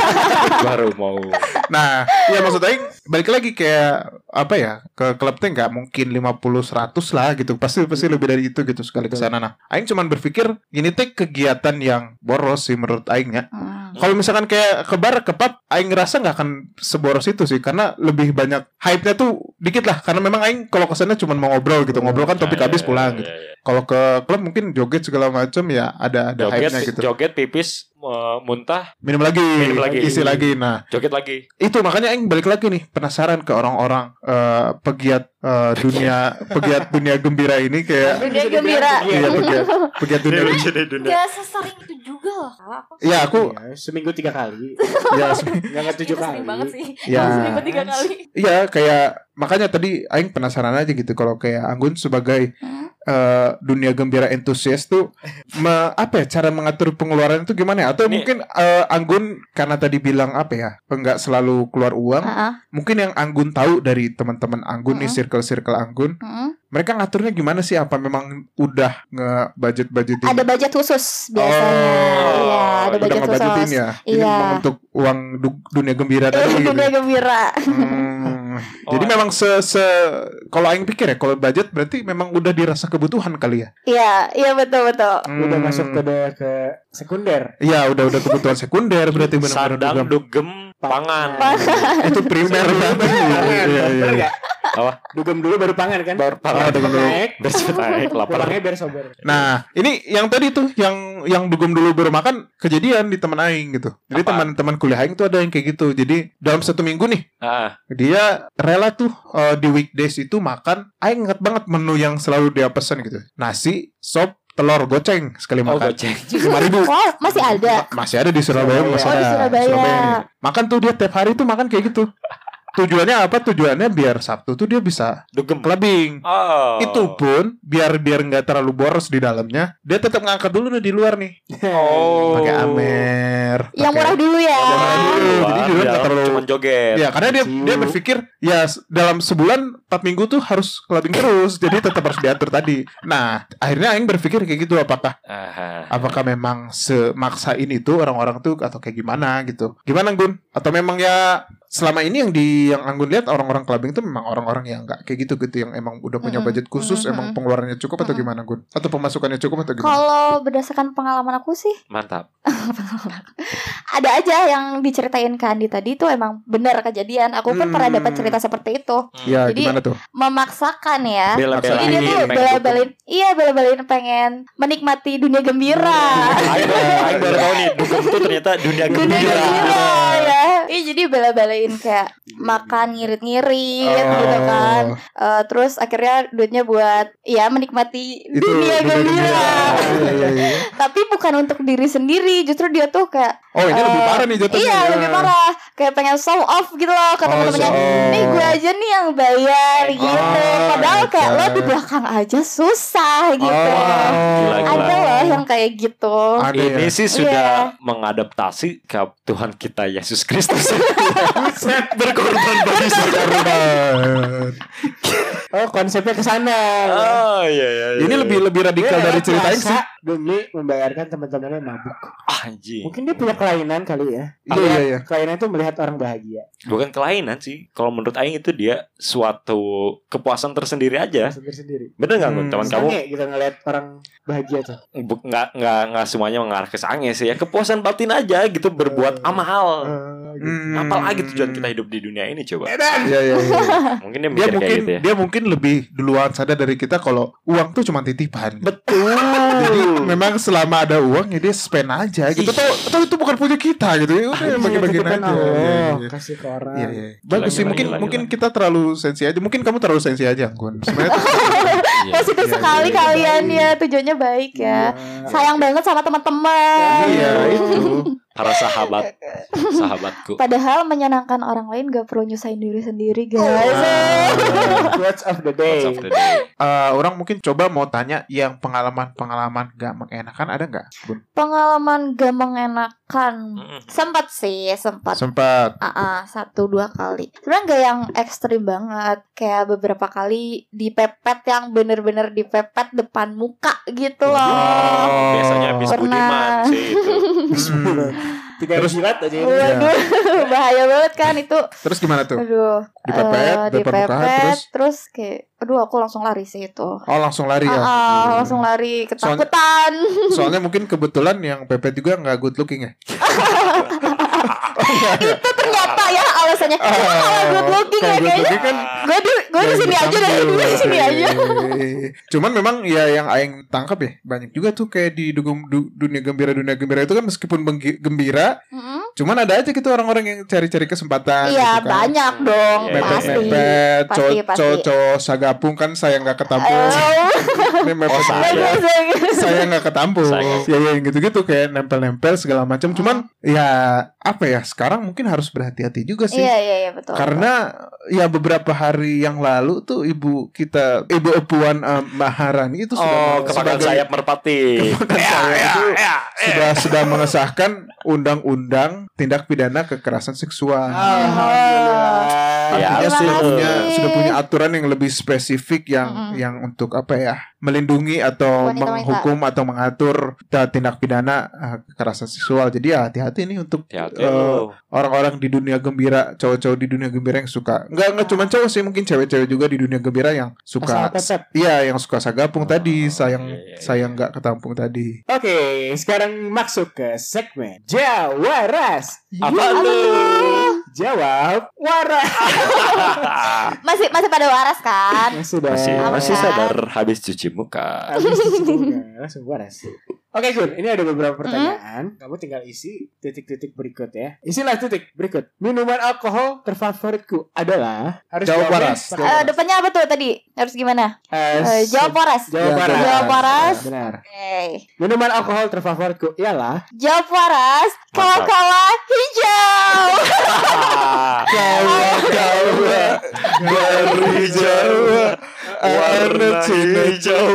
Speaker 4: baru mau
Speaker 3: Nah, ya maksud aing balik lagi kayak apa ya? Ke klubnya nggak mungkin 50 100 lah gitu. Pasti pasti lebih dari itu gitu sekali ke sana. Nah, aing cuman berpikir ini teh kegiatan yang boros sih menurut aing ya.
Speaker 5: Hmm.
Speaker 3: Kalau misalkan kayak ke bar ke pub, aing ngerasa nggak akan seboros itu sih karena lebih banyak hype-nya tuh dikit lah karena memang aing kalau ke sana cuman mau ngobrol gitu. Ngobrol kan topik
Speaker 4: Ya,
Speaker 3: habis
Speaker 4: ya,
Speaker 3: pulang
Speaker 4: ya,
Speaker 3: gitu.
Speaker 4: ya, ya.
Speaker 3: Kalau ke klub mungkin joget segala macam ya ada ada
Speaker 4: Joget,
Speaker 3: hype-nya gitu.
Speaker 4: joget pipis eh, muntah,
Speaker 3: Minum lagi,
Speaker 4: Minum lagi.
Speaker 3: isi lagi. Nah,
Speaker 4: joget lagi.
Speaker 3: itu makanya aing balik lagi nih penasaran ke orang-orang eh, pegiat eh, dunia pegiat dunia gembira ini kayak
Speaker 5: Dunia gembira.
Speaker 3: iya pegiat pegiat
Speaker 4: Iya.
Speaker 3: dunia gembira.
Speaker 5: Gak sesering itu juga loh Kak. Aku
Speaker 3: ya aku
Speaker 2: Iya, seminggu tiga kali
Speaker 3: ya
Speaker 2: nggak nggak tujuh
Speaker 5: itu
Speaker 2: kali
Speaker 5: Iya, sering banget sih
Speaker 3: Ya.
Speaker 5: Seminggu tiga kali
Speaker 3: iya kayak makanya tadi aing penasaran aja gitu kalau kayak Anggun sebagai
Speaker 5: Hmm.
Speaker 3: eh, dunia gembira entusias tuh me- apa ya cara mengatur pengeluaran itu gimana ya? Atau
Speaker 4: Ini-
Speaker 3: mungkin eh, Anggun karena tadi bilang apa ya? Enggak selalu keluar uang.
Speaker 5: Heeh,
Speaker 3: Mungkin yang Anggun tahu dari teman-teman Anggun nih
Speaker 5: Mm-mm.
Speaker 3: circle-circle Anggun,
Speaker 5: heeh.
Speaker 3: mereka ngaturnya gimana sih? Apa memang udah nge-budget-budgetin?
Speaker 5: Ada budget khusus biasanya. Iya,
Speaker 3: Oh,
Speaker 5: ada
Speaker 3: udah
Speaker 5: budget
Speaker 3: ngebudgetin
Speaker 5: khusus.
Speaker 3: ya. Ini
Speaker 5: Iya.
Speaker 3: untuk uang du- dunia gembira tadi gitu.
Speaker 5: Dunia gembira.
Speaker 3: Hmm.
Speaker 4: Oh,
Speaker 3: Jadi
Speaker 4: ada.
Speaker 3: memang se, se kalau aing pikir ya kalau budget berarti memang udah dirasa kebutuhan kali ya.
Speaker 5: Iya, iya betul betul.
Speaker 2: udah
Speaker 3: Hmm.
Speaker 2: masuk ke ke sekunder
Speaker 3: Iya, udah udah kebutuhan sekunder berarti benar-benar
Speaker 4: Sadang
Speaker 3: dugem.
Speaker 4: dugem pangan.
Speaker 3: itu primer banget. Iya, iya, iya.
Speaker 2: Bener nggak?
Speaker 4: Apa?
Speaker 2: dugem dulu baru pangan kan
Speaker 4: Baru pangan.
Speaker 2: Baru
Speaker 3: Dugem dulu.
Speaker 2: naik
Speaker 4: Besok naik lapar.
Speaker 2: pulangnya biar sober
Speaker 3: Nah, ini yang tadi tuh yang yang dugem dulu baru makan kejadian di teman aing gitu. Jadi
Speaker 4: Apa?
Speaker 3: teman-teman kuliah aing tuh ada yang kayak gitu. Jadi dalam satu minggu nih
Speaker 4: Ah,
Speaker 3: dia rela tuh eh, di weekdays itu makan aing inget banget menu yang selalu dia pesan gitu. Nasi, sop, telur goceng sekali
Speaker 4: oh
Speaker 3: makan.
Speaker 4: goceng.
Speaker 3: kan
Speaker 4: Iya,
Speaker 3: Lima ribu.
Speaker 5: Wow, masih ada.
Speaker 3: Ma- masih ada di Surabaya,
Speaker 2: Surabaya.
Speaker 3: masih
Speaker 5: Oh,
Speaker 3: ada.
Speaker 5: di Surabaya.
Speaker 3: Makan tuh dia tiap hari tuh makan kayak gitu. Tujuannya apa? Tujuannya biar Sabtu tuh dia bisa
Speaker 4: Dugem.
Speaker 3: clubbing.
Speaker 4: Oh.
Speaker 3: Itu pun biar biar nggak terlalu boros di dalamnya, dia tetap ngangkat dulu nih di luar nih.
Speaker 4: Oh.
Speaker 3: Pakai
Speaker 5: Yang
Speaker 3: amer. pakai-
Speaker 5: murah dulu ya.
Speaker 3: Yang murah dulu.
Speaker 4: Wah,
Speaker 3: Jadi juga
Speaker 4: di
Speaker 3: nggak
Speaker 4: dalam
Speaker 3: terlalu-
Speaker 4: cuman joget.
Speaker 3: Ya karena dia dia berpikir ya s- dalam sebulan 4 minggu tuh harus clubbing terus, jadi tetap harus diatur tadi. Nah akhirnya Aing berpikir kayak gitu apakah
Speaker 4: Ah,
Speaker 3: apakah memang semaksain itu orang-orang tuh atau kayak gimana gitu gimana Gun atau memang ya selama ini yang di yang Anggun lihat orang-orang clubbing itu memang orang-orang yang nggak kayak gitu gitu yang emang udah punya
Speaker 5: Mm-mm.
Speaker 3: budget khusus
Speaker 5: Mm-mm.
Speaker 3: emang pengeluarannya cukup atau
Speaker 5: Mm-mm.
Speaker 3: gimana Gun atau pemasukannya cukup atau gimana
Speaker 5: Kalau berdasarkan pengalaman aku sih
Speaker 4: mantap.
Speaker 5: ada aja yang diceritain ke Andi tadi itu emang benar kejadian. Aku pun
Speaker 3: Hmm.
Speaker 5: pernah dapat cerita seperti itu.
Speaker 3: ya
Speaker 5: Jadi-
Speaker 3: gimana tuh
Speaker 5: Memaksakan ya. Jadi dia
Speaker 4: Bela-belain pengen
Speaker 5: tuh
Speaker 4: dugem.
Speaker 5: bela-belain, iya bela-belain pengen menikmati dunia gembira.
Speaker 4: Aing baru- aing baru tahu nih dugem tuh ternyata dunia
Speaker 5: Dunia
Speaker 4: gembira.
Speaker 5: gembira ya. Iya jadi bela-belain kayak makan ngirit-ngirit
Speaker 3: Oh,
Speaker 5: gitu kan. Eh, terus akhirnya duitnya buat ya menikmati dunia gembira.
Speaker 3: Iya, iya, iya.
Speaker 5: Tapi bukan untuk diri sendiri, justru dia tuh kayak
Speaker 3: oh ini lebih
Speaker 5: Eh,
Speaker 3: parah nih jatuhnya
Speaker 5: Iya lebih parah Kayak pengen show off gitu loh Ke
Speaker 3: Oh,
Speaker 5: temen-temennya
Speaker 3: show off.
Speaker 5: Nih gue aja nih yang bayar gitu
Speaker 3: Oh,
Speaker 5: Padahal kayak lo
Speaker 3: oke.
Speaker 5: di belakang aja susah gitu
Speaker 3: Oh.
Speaker 5: Ada loh yang kayak gitu
Speaker 3: Ada ya?
Speaker 4: Ini sih sudah
Speaker 5: Iya.
Speaker 4: mengadaptasi ke Tuhan kita Yesus Kristus. Berkorban bagi saya.
Speaker 2: oh konsepnya ke sana
Speaker 4: Oh iya iya. iya.
Speaker 3: ini lebih lebih radikal
Speaker 2: Dia
Speaker 3: dari ceritain
Speaker 2: puasa
Speaker 3: sih
Speaker 2: demi membayarkan teman-temannya mabuk
Speaker 4: Ah, anjing.
Speaker 2: mungkin dia punya kelainan kali ya
Speaker 3: Iya, iya, iya.
Speaker 2: kelainan itu melihat orang bahagia
Speaker 3: Hmm.
Speaker 4: Bukan kelainan sih. Kalau menurut aing itu dia suatu kepuasan tersendiri
Speaker 3: Ya.
Speaker 4: aja.
Speaker 2: sendiri sendiri
Speaker 4: Bener nggak Gun?
Speaker 3: Hmm.
Speaker 4: Cuman kamu
Speaker 2: sange gitu ngelihat orang bahagia tuh
Speaker 4: bu- nggak nggak nggak semuanya mengarah ke sange sih ya. Kepuasan batin aja gitu berbuat amal.
Speaker 2: Eh, gitu.
Speaker 3: Hmm.
Speaker 4: Apalagi tujuan kita hidup di dunia ini coba.
Speaker 3: Iya, iya, iya.
Speaker 4: Mungkin dia mikir
Speaker 3: dia
Speaker 4: kayak
Speaker 3: mungkin
Speaker 4: gitu ya.
Speaker 3: dia mungkin lebih duluan sadar dari kita kalau uang tuh cuma titipan.
Speaker 4: Betul.
Speaker 3: Jadi memang selama ada uang ya dia spend aja
Speaker 4: Ih.
Speaker 3: gitu. Atau, atau itu bukan punya kita gitu. Ya udah bagi-bagi aja.
Speaker 2: Titipkan Allah,
Speaker 3: Iya, iya, iya.
Speaker 2: kasih ke orang
Speaker 3: Iya, iya. Bagus sih
Speaker 4: gila,
Speaker 3: mungkin
Speaker 4: gila,
Speaker 3: mungkin
Speaker 4: gila.
Speaker 3: kita terlalu sensi aja. Mungkin kamu terlalu sensi aja, Gun. Sebenarnya
Speaker 4: Iya.
Speaker 5: Positif
Speaker 3: Iya,
Speaker 5: sekali
Speaker 3: iya,
Speaker 5: kalian
Speaker 2: iya.
Speaker 5: ya Tujuannya baik ya
Speaker 2: Iya.
Speaker 5: Sayang banget sama teman-teman
Speaker 3: iya itu.
Speaker 4: Para sahabat sahabatku.
Speaker 5: Padahal menyenangkan orang lain gak perlu nyusahin diri sendiri
Speaker 3: Iya.
Speaker 5: guys
Speaker 2: Ah, Quotes of the day.
Speaker 4: What's up today?
Speaker 3: Eh, orang mungkin coba mau tanya yang pengalaman-pengalaman gak mengenakan ada nggak? Gun?
Speaker 5: Pengalaman gak mengenakan
Speaker 4: Mm-mm.
Speaker 5: Sempat sih sempat
Speaker 3: Sempat.
Speaker 5: Ah, ah, satu dua kali. Sebenarnya nggak yang ekstrim banget, kayak beberapa kali dipepet yang bener-bener dipepet depan muka gitu loh.
Speaker 3: Oh.
Speaker 4: Biasanya habis
Speaker 5: Pernah.
Speaker 4: Budiman sih itu.
Speaker 3: Hmm.
Speaker 2: Tiga
Speaker 3: Terus-
Speaker 2: jilat aja ini.
Speaker 3: Iya.
Speaker 5: Waduh, bahaya banget kan itu.
Speaker 3: Terus gimana tuh?
Speaker 5: Aduh,
Speaker 3: Dipepet,
Speaker 5: eh,
Speaker 3: depan muka,
Speaker 5: dipepet,
Speaker 3: terus?
Speaker 5: terus kayak, aduh aku langsung lari sih itu.
Speaker 3: Oh langsung lari ya.
Speaker 5: Ah, ah, langsung lari ketakutan.
Speaker 3: Soalnya mungkin kebetulan yang Pepe juga nggak good looking ya.
Speaker 5: itu ternyata ya alasannya. Cuma kalau good looking ya
Speaker 3: Kalau good
Speaker 5: kayaknya.
Speaker 3: looking Ah, kan gitu.
Speaker 5: Gue di, gue di sini aja deh, gue di sini aja.
Speaker 3: Iya. Cuman memang ya yang aing tangkap ya banyak juga tuh kayak di dugem- du- dunia gembira dunia gembira itu kan meskipun benggi- gembira,
Speaker 5: Mm-mm.
Speaker 3: cuman ada aja gitu orang-orang yang cari-cari kesempatan.
Speaker 5: Iya
Speaker 3: gitu kan.
Speaker 5: banyak dong
Speaker 4: Iya,
Speaker 5: pasti.
Speaker 3: Mepet-mepet,
Speaker 5: Pasti, pasti.
Speaker 3: cowok-cowok sagapung kan saya nggak ketemu.
Speaker 5: Eh,
Speaker 3: Ini mepet.
Speaker 4: saya.
Speaker 5: Gak
Speaker 4: Iya.
Speaker 5: biasa gitu.
Speaker 3: saya nggak ketampung
Speaker 4: Saya nggak
Speaker 3: ya ya gitu-gitu kayak nempel-nempel segala macam cuman ya apa ya sekarang mungkin harus berhati-hati juga sih
Speaker 5: Iya iya iya betul.
Speaker 3: Karena ya beberapa hari yang lalu tuh ibu kita ibu Puan eh, Maharani itu
Speaker 4: Oh,
Speaker 3: sudah
Speaker 4: kepakan
Speaker 3: sebagai-
Speaker 4: sayap merpati. Ya,
Speaker 3: kepakan sayap itu sudah sudah mengesahkan undang-undang tindak pidana kekerasan seksual.
Speaker 2: Alhamdulillah.
Speaker 4: Ya,
Speaker 3: Artinya
Speaker 5: terima
Speaker 3: sudah
Speaker 5: kasih.
Speaker 3: punya sudah punya aturan yang lebih spesifik yang
Speaker 5: Mm-mm.
Speaker 3: yang untuk apa ya melindungi atau
Speaker 5: Wanita-wanita.
Speaker 3: menghukum atau mengatur ta- tindak pidana eh, kekerasan seksual. Jadi ya hati-hati nih untuk
Speaker 4: Ya, oke.
Speaker 3: eh, orang-orang di dunia gembira, cowok-cowok di dunia gembira yang suka. Enggak enggak cuma cowok sih, mungkin cewek-cewek juga di dunia gembira yang
Speaker 2: Asal
Speaker 3: suka
Speaker 2: tetep.
Speaker 3: Iya, yang suka sagapung
Speaker 4: Oh,
Speaker 3: tadi, sayang
Speaker 4: iya, iya, iya.
Speaker 3: sayang nggak ketampung tadi.
Speaker 2: Oke, sekarang masuk ke segmen Jawa Ras.
Speaker 4: Apa
Speaker 5: Iya.
Speaker 4: tuh?
Speaker 2: Jawab waras.
Speaker 5: Masih masih pada waras kan?
Speaker 2: Masih dong.
Speaker 4: Masih,
Speaker 5: Aman.
Speaker 4: masih sadar habis cuci muka.
Speaker 2: Habis itu udah, langsung waras. Oke Gun, ini ada beberapa pertanyaan. Kamu tinggal isi titik-titik berikut ya. Isilah titik berikut. Minuman alkohol terfavoritku adalah harus
Speaker 3: Jawab
Speaker 2: jawabnya
Speaker 3: waras.
Speaker 2: pakai-
Speaker 5: Eh, depannya apa tuh tadi? Harus gimana?
Speaker 2: Eh,
Speaker 5: Eh, jawab waras. Oke.
Speaker 2: Jawab
Speaker 3: Ya,
Speaker 2: waras.
Speaker 5: jawab waras.
Speaker 2: Benar. Minuman alkohol terfavoritku ialah
Speaker 5: Jawab waras.
Speaker 4: Mantap.
Speaker 5: Kala-kala hijau.
Speaker 3: Jawa dari Jawa
Speaker 4: warna hijau.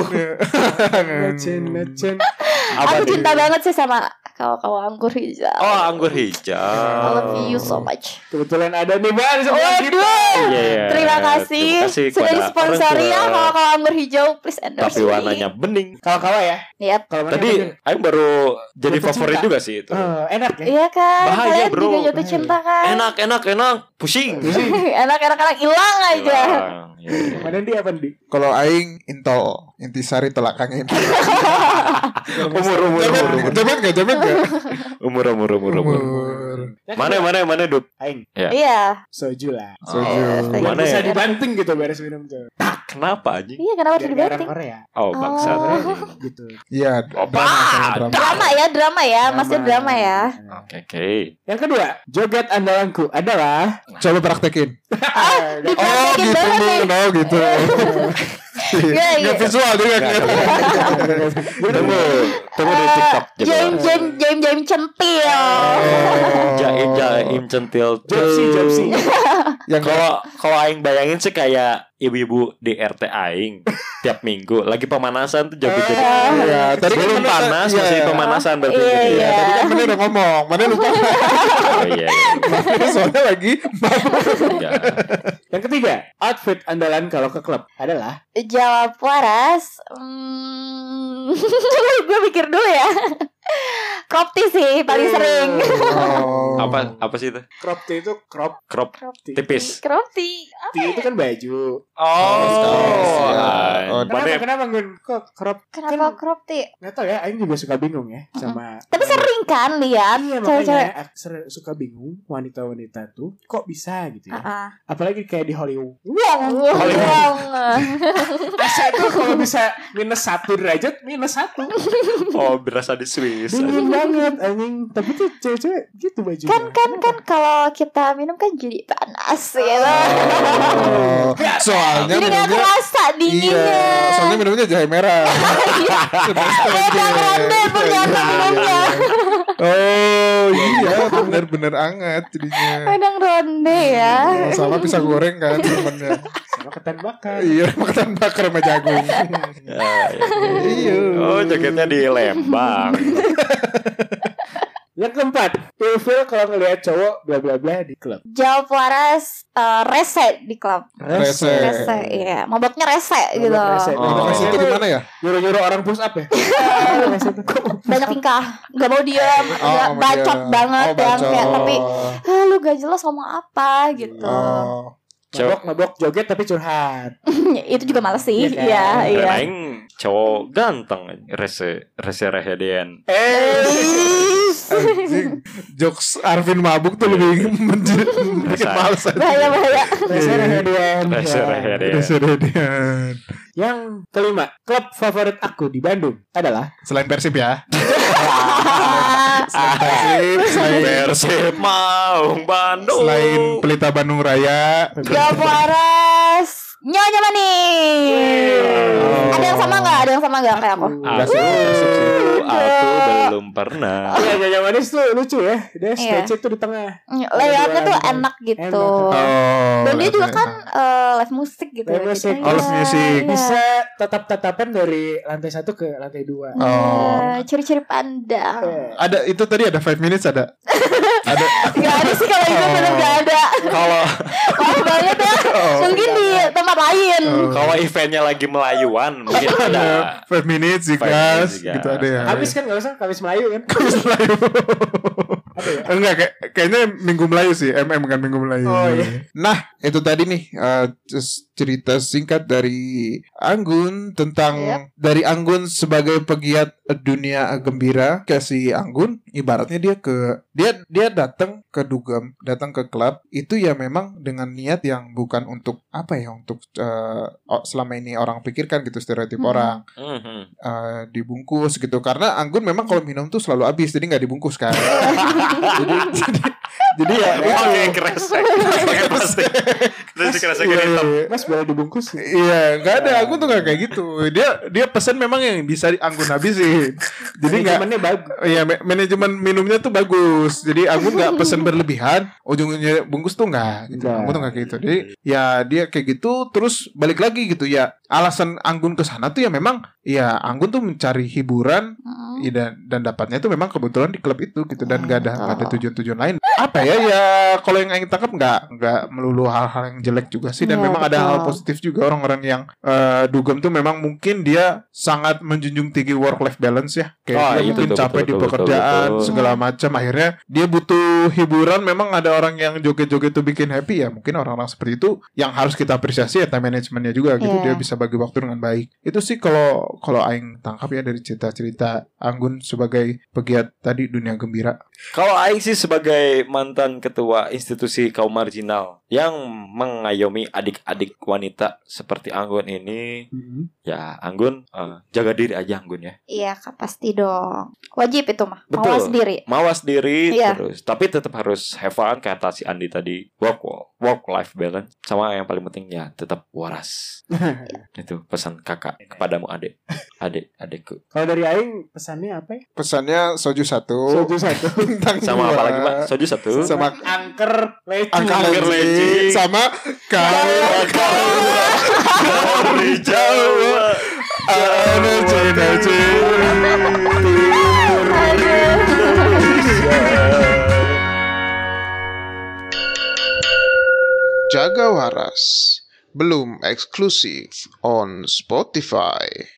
Speaker 2: Necen, necen.
Speaker 4: Apa
Speaker 5: Aku
Speaker 4: nih?
Speaker 5: cinta banget sih sama kala-kala anggur hijau.
Speaker 4: Oh, anggur hijau.
Speaker 5: I love you so much.
Speaker 2: Kebetulan ada nih Bang. gitu. seorang
Speaker 5: Waduh.
Speaker 2: kita.
Speaker 4: Iya, iya.
Speaker 5: Terima kasih,
Speaker 4: Terima kasih
Speaker 5: sudah
Speaker 4: kepada
Speaker 5: disponsori ya
Speaker 4: orang tua.
Speaker 5: kalau anggur hijau please endorse me.
Speaker 4: Tapi
Speaker 5: Iya,
Speaker 4: warnanya bening.
Speaker 2: Kalau-kalau ya.
Speaker 5: Yap.
Speaker 2: Kalau mana
Speaker 4: Tadi
Speaker 2: yang-
Speaker 4: Aing baru jadi
Speaker 2: Jatuh
Speaker 4: favorit
Speaker 2: cinta.
Speaker 4: juga sih itu.
Speaker 2: Eh, enak ya.
Speaker 5: Iya kan?
Speaker 4: Bahaya,
Speaker 5: Kalian
Speaker 4: bro.
Speaker 5: juga jatuh
Speaker 2: Bahaya.
Speaker 5: cinta kan?
Speaker 4: Enak, enak, enak. Pusing.
Speaker 5: Enak-enak hilang aja.
Speaker 4: Hilang. Iya, iya.
Speaker 2: Mana dia apa di?
Speaker 3: Kalau aing intol, intisari telak angin.
Speaker 4: Umur, umur, umur,
Speaker 3: Jamet
Speaker 4: umur.
Speaker 3: jamet nggak jamet nggak?
Speaker 4: Umur, umur, umur, umur.
Speaker 3: Umur.
Speaker 4: Mana, mana, mana, Dup?
Speaker 2: Aing
Speaker 4: Iya.
Speaker 5: Iya.
Speaker 2: soju lah.
Speaker 3: Soju.
Speaker 5: Eh,
Speaker 2: Biar
Speaker 4: Mana
Speaker 2: bisa
Speaker 4: ya?
Speaker 2: dibanting gitu beres minum tuh.
Speaker 4: Oh, Kenapa, anjing?
Speaker 5: Iya kenapa harus
Speaker 2: Biar kayak orang
Speaker 5: dibanting?
Speaker 2: Korea
Speaker 4: Oh, bangsa.
Speaker 5: Oh.
Speaker 2: gitu.
Speaker 3: Iya. drama, sama drama.
Speaker 5: Drama ya, drama ya, masih drama ya.
Speaker 4: Oke, oke.
Speaker 2: Yang kedua, joget andalanku adalah
Speaker 3: Coba praktekin.
Speaker 2: Ah.
Speaker 3: Oh
Speaker 5: Dipraktekin
Speaker 3: gitu,
Speaker 5: banget nih.
Speaker 3: no gitu.
Speaker 5: Iya, iya.
Speaker 3: Nggak visual kan. juga kelihatan.
Speaker 4: Tunggu, tunggu di
Speaker 5: Eh,
Speaker 4: TikTok. Jep.
Speaker 5: Jaim Jaim Jaim Jaim centil.
Speaker 3: Eh. Oh.
Speaker 4: Jaim jaim centil.
Speaker 2: jopsi jopsi.
Speaker 3: Yang kalau
Speaker 4: Kalau kalau aing bayangin sih kayak ibu-ibu di RT aing tiap minggu lagi pemanasan tuh joget joget.
Speaker 3: ya, tadi kan
Speaker 4: Belum
Speaker 3: mana-
Speaker 4: panas
Speaker 3: iya,
Speaker 4: masih
Speaker 3: iya.
Speaker 4: pemanasan berarti.
Speaker 5: Iya,
Speaker 4: gitu
Speaker 3: Ya,
Speaker 4: ya.
Speaker 3: tadi kan mana udah ngomong, mana lupa.
Speaker 4: Oh, iya.
Speaker 3: Mana soalnya lagi mabuk.
Speaker 4: iya.
Speaker 2: Yang ketiga, outfit andalan kalau ke klub adalah
Speaker 5: Jawab waras. Hmm, gue mikir dulu ya. Kopti
Speaker 2: Eh.
Speaker 5: sih paling sering.
Speaker 3: Oh.
Speaker 4: Apa apa sih itu?
Speaker 2: crop tee itu crop
Speaker 4: Crop
Speaker 2: tee.
Speaker 4: tipis.
Speaker 5: Kopti. Apa
Speaker 2: Tee
Speaker 5: ya?
Speaker 2: itu kan baju.
Speaker 3: Oh, iya.
Speaker 4: Oh,
Speaker 2: Kenapa
Speaker 4: mana
Speaker 2: kenapa Gun? Kok crop
Speaker 5: Kenapa
Speaker 2: Kan-
Speaker 5: kopti?
Speaker 2: nggak tahu ya, Aing juga suka bingung ya sama.
Speaker 5: Tapi sering kan lihat
Speaker 2: Iya
Speaker 5: cewek-cewek.
Speaker 2: makanya aku ser- suka bingung wanita-wanita tuh kok bisa gitu ya.
Speaker 5: Ah, ah.
Speaker 2: Apalagi kayak di Hollywood.
Speaker 5: Wong,
Speaker 4: Hollywood.
Speaker 5: wong.
Speaker 2: Asa tuh kalau bisa minus satu derajat minus satu.
Speaker 4: oh berasa di Swiss.
Speaker 2: Dingin banget anjing. Tapi tuh cewek-cewek gitu bajunya.
Speaker 5: kan kan kan kalau kita minum kan jadi panas ya
Speaker 3: Oh. Soalnya
Speaker 5: jadi nggak ya.
Speaker 3: minumnya
Speaker 5: kerasa dinginnya
Speaker 3: Iya, soalnya minumnya jahe merah.
Speaker 5: Iya.
Speaker 3: Sudah setuju.
Speaker 5: Emang rendah ternyata minumnya
Speaker 3: Oh iya bener-bener anget jadinya
Speaker 5: Padang ronde ya
Speaker 3: Sama pisang goreng kan temennya
Speaker 2: Sama ketan bakar.
Speaker 3: Iya makan bakar sama jagung
Speaker 4: Ah,
Speaker 3: Iya.
Speaker 4: iya. Oh jaketnya di Lembang.
Speaker 2: Yang keempat, ilfil kalau ngelihat cowok bla bla bla di klub.
Speaker 5: Jawab waras eh, rese di klub
Speaker 3: Rese.
Speaker 5: Rese iya Maboknya
Speaker 2: Mabok
Speaker 5: rese gitu
Speaker 2: rese.
Speaker 3: Ada
Speaker 4: Oh.
Speaker 3: kasih itu gimana ya?
Speaker 2: Nyuruh nyuruh orang push up ya.
Speaker 5: Banyak tingkah Gak mau diam nggak
Speaker 3: Oh, sama
Speaker 5: Bacot
Speaker 3: dia.
Speaker 5: banget
Speaker 3: Oh,
Speaker 5: yang kayak
Speaker 3: bacot.
Speaker 5: Tapi ah, lu gak jelas ngomong apa gitu
Speaker 3: Oh.
Speaker 2: Mabok mabok joget tapi curhat.
Speaker 5: Itu juga males sih
Speaker 2: Iya kan?
Speaker 5: Iya
Speaker 4: Dan
Speaker 5: iya
Speaker 4: aing cowok ganteng rese rese rehedean.
Speaker 5: Eh.
Speaker 3: Anjing. Jokes Arvin mabuk tuh lebih menjadi bikin
Speaker 4: Rasa.
Speaker 3: males aja.
Speaker 5: Bahaya bahaya
Speaker 2: Rese
Speaker 5: eh.
Speaker 2: rehedean.
Speaker 4: Rese
Speaker 3: Iya.
Speaker 4: rehedean.
Speaker 3: Rese Radian.
Speaker 2: Yang kelima, klub favorit aku di Bandung adalah
Speaker 3: Selain Persib ya. Selain Persib, selain
Speaker 4: Persib Maung Bandung.
Speaker 3: selain Pelita Bandung Raya.
Speaker 5: Jawab waras Nyonya manis.
Speaker 4: Wih.
Speaker 5: Ada yang sama nggak? Ada yang sama nggak kayak aku?
Speaker 4: Aku masuk situ, aku belum pernah.
Speaker 2: Iya, nyonya manis tuh lucu ya. Dia
Speaker 5: Iya.
Speaker 2: sketch tuh di tengah.
Speaker 5: Layoutnya tuh
Speaker 2: Enak.
Speaker 5: enak gitu.
Speaker 3: Oh.
Speaker 5: Dan dia juga
Speaker 3: lihat-lihat.
Speaker 5: kan eh, live musik gitu.
Speaker 2: Live
Speaker 5: ya,
Speaker 2: music.
Speaker 5: gitu.
Speaker 3: Oh, live
Speaker 5: Iya,
Speaker 3: music.
Speaker 5: iya.
Speaker 2: Bisa tatap-tatapan dari lantai satu ke lantai dua.
Speaker 5: Iya,
Speaker 3: Oh.
Speaker 5: Ciri-ciri pandang.
Speaker 2: Eh,
Speaker 3: ada itu tadi ada 5 minutes ada. ada
Speaker 5: Gak ada sih kalau itu
Speaker 3: Oh.
Speaker 5: bener gak ada.
Speaker 4: Kalau
Speaker 5: Mahal banget ya.
Speaker 3: Oh.
Speaker 5: Mungkin di tempat lain.
Speaker 3: Oh.
Speaker 4: kalau eventnya lagi melayuan mungkin Iya, ada.
Speaker 3: ada 5 minutes
Speaker 4: Five
Speaker 3: Zikas
Speaker 4: minutes, Zikas.
Speaker 3: gitu ada ya.
Speaker 2: Kamis kan gak usah, Kamis Melayu kan.
Speaker 3: Kamis Melayu. Enggak kayak, kayaknya Minggu Melayu sih. MM bukan Minggu Melayu.
Speaker 2: Oh, iya.
Speaker 3: Nah, itu tadi nih eh, c- cerita singkat dari Anggun tentang
Speaker 5: Yep.
Speaker 3: dari Anggun sebagai pegiat dunia gembira ke si Anggun ibaratnya dia ke dia dia datang ke dugem, datang ke klub itu ya memang dengan niat yang bukan untuk apa ya untuk eh, o- selama ini orang pikirkan gitu stereotip
Speaker 5: Hmm.
Speaker 3: orang
Speaker 4: Mhm.
Speaker 3: eh, dibungkus gitu karena anggun memang kalau minum tuh selalu habis jadi nggak dibungkus kan jadi, jadi jadi ya
Speaker 4: Wah,
Speaker 3: itu.
Speaker 4: kayak kresek. Pakai plastik. Terus kresek
Speaker 3: Iya,
Speaker 4: hitam.
Speaker 3: iya.
Speaker 2: Mas boleh dibungkus.
Speaker 3: Iya, nggak ada. Anggun tuh nggak kayak gitu. Dia dia pesan memang yang bisa di- Anggun habisin. Jadi nggak.
Speaker 2: Manajemennya bagus.
Speaker 3: Iya, ma- manajemen minumnya tuh bagus. Jadi Anggun nggak pesan berlebihan. Ujungnya bungkus tuh nggak. Gitu.
Speaker 2: Nggak.
Speaker 3: Anggun tuh nggak kayak gitu. Jadi ya dia kayak gitu. Terus balik lagi gitu ya. Alasan Anggun ke sana tuh ya memang ya Anggun tuh mencari hiburan
Speaker 5: Hmm.
Speaker 3: Iya, dan, dan dapatnya itu memang kebetulan di klub itu gitu dan gak ada
Speaker 5: Gitu.
Speaker 3: nggak ada tujuan-tujuan lain. Apa ya ya kalau yang ingin tangkap nggak nggak melulu hal-hal yang jelek juga sih
Speaker 5: Iya,
Speaker 3: dan memang ada
Speaker 5: betul.
Speaker 3: hal positif juga orang-orang yang eh, dugem tuh memang mungkin dia sangat menjunjung tinggi work life balance ya.
Speaker 4: Oh,
Speaker 3: Kayak dia
Speaker 4: iya,
Speaker 3: mungkin
Speaker 4: betul,
Speaker 3: capek
Speaker 4: betul,
Speaker 3: di
Speaker 4: betul,
Speaker 3: pekerjaan
Speaker 4: betul.
Speaker 3: segala macam akhirnya dia butuh hiburan memang ada orang yang joget-joget tuh bikin happy ya mungkin orang-orang seperti itu yang harus kita apresiasi ya time manajemennya juga gitu
Speaker 5: Iya.
Speaker 3: dia bisa bagi waktu dengan baik itu sih kalau kalau Aing tangkap ya dari cerita-cerita Anggun sebagai pegiat tadi dunia gembira
Speaker 4: Kalau Aing sih sebagai mantan ketua institusi kaum marginal yang mengayomi adik-adik wanita seperti Anggun ini,
Speaker 3: Hmm?
Speaker 4: ya Anggun eh, jaga diri aja Anggun ya.
Speaker 5: Iya, Kak, pasti dong. Wajib itu mah.
Speaker 4: Betul.
Speaker 5: Mawas diri.
Speaker 4: Mawas diri
Speaker 5: Iya.
Speaker 4: terus, tapi tetap harus have fun kayak kata si Andi tadi. Work work life balance sama yang paling pentingnya tetap waras. Itu pesan kakak kepadamu adik, adik, adikku.
Speaker 2: Kalau dari Aing pesannya apa ya?
Speaker 3: pesannya soju satu
Speaker 2: Soju satu.
Speaker 3: bintang
Speaker 4: Sama
Speaker 3: dua.
Speaker 4: apa lagi Pak? Soju satu.
Speaker 3: sama
Speaker 2: Angker leci.
Speaker 3: angkat
Speaker 4: Angker
Speaker 3: leci.
Speaker 4: leci.
Speaker 3: sama kalau
Speaker 4: Dari
Speaker 3: Jawa. energi energi jaga waras belum eksklusif on Spotify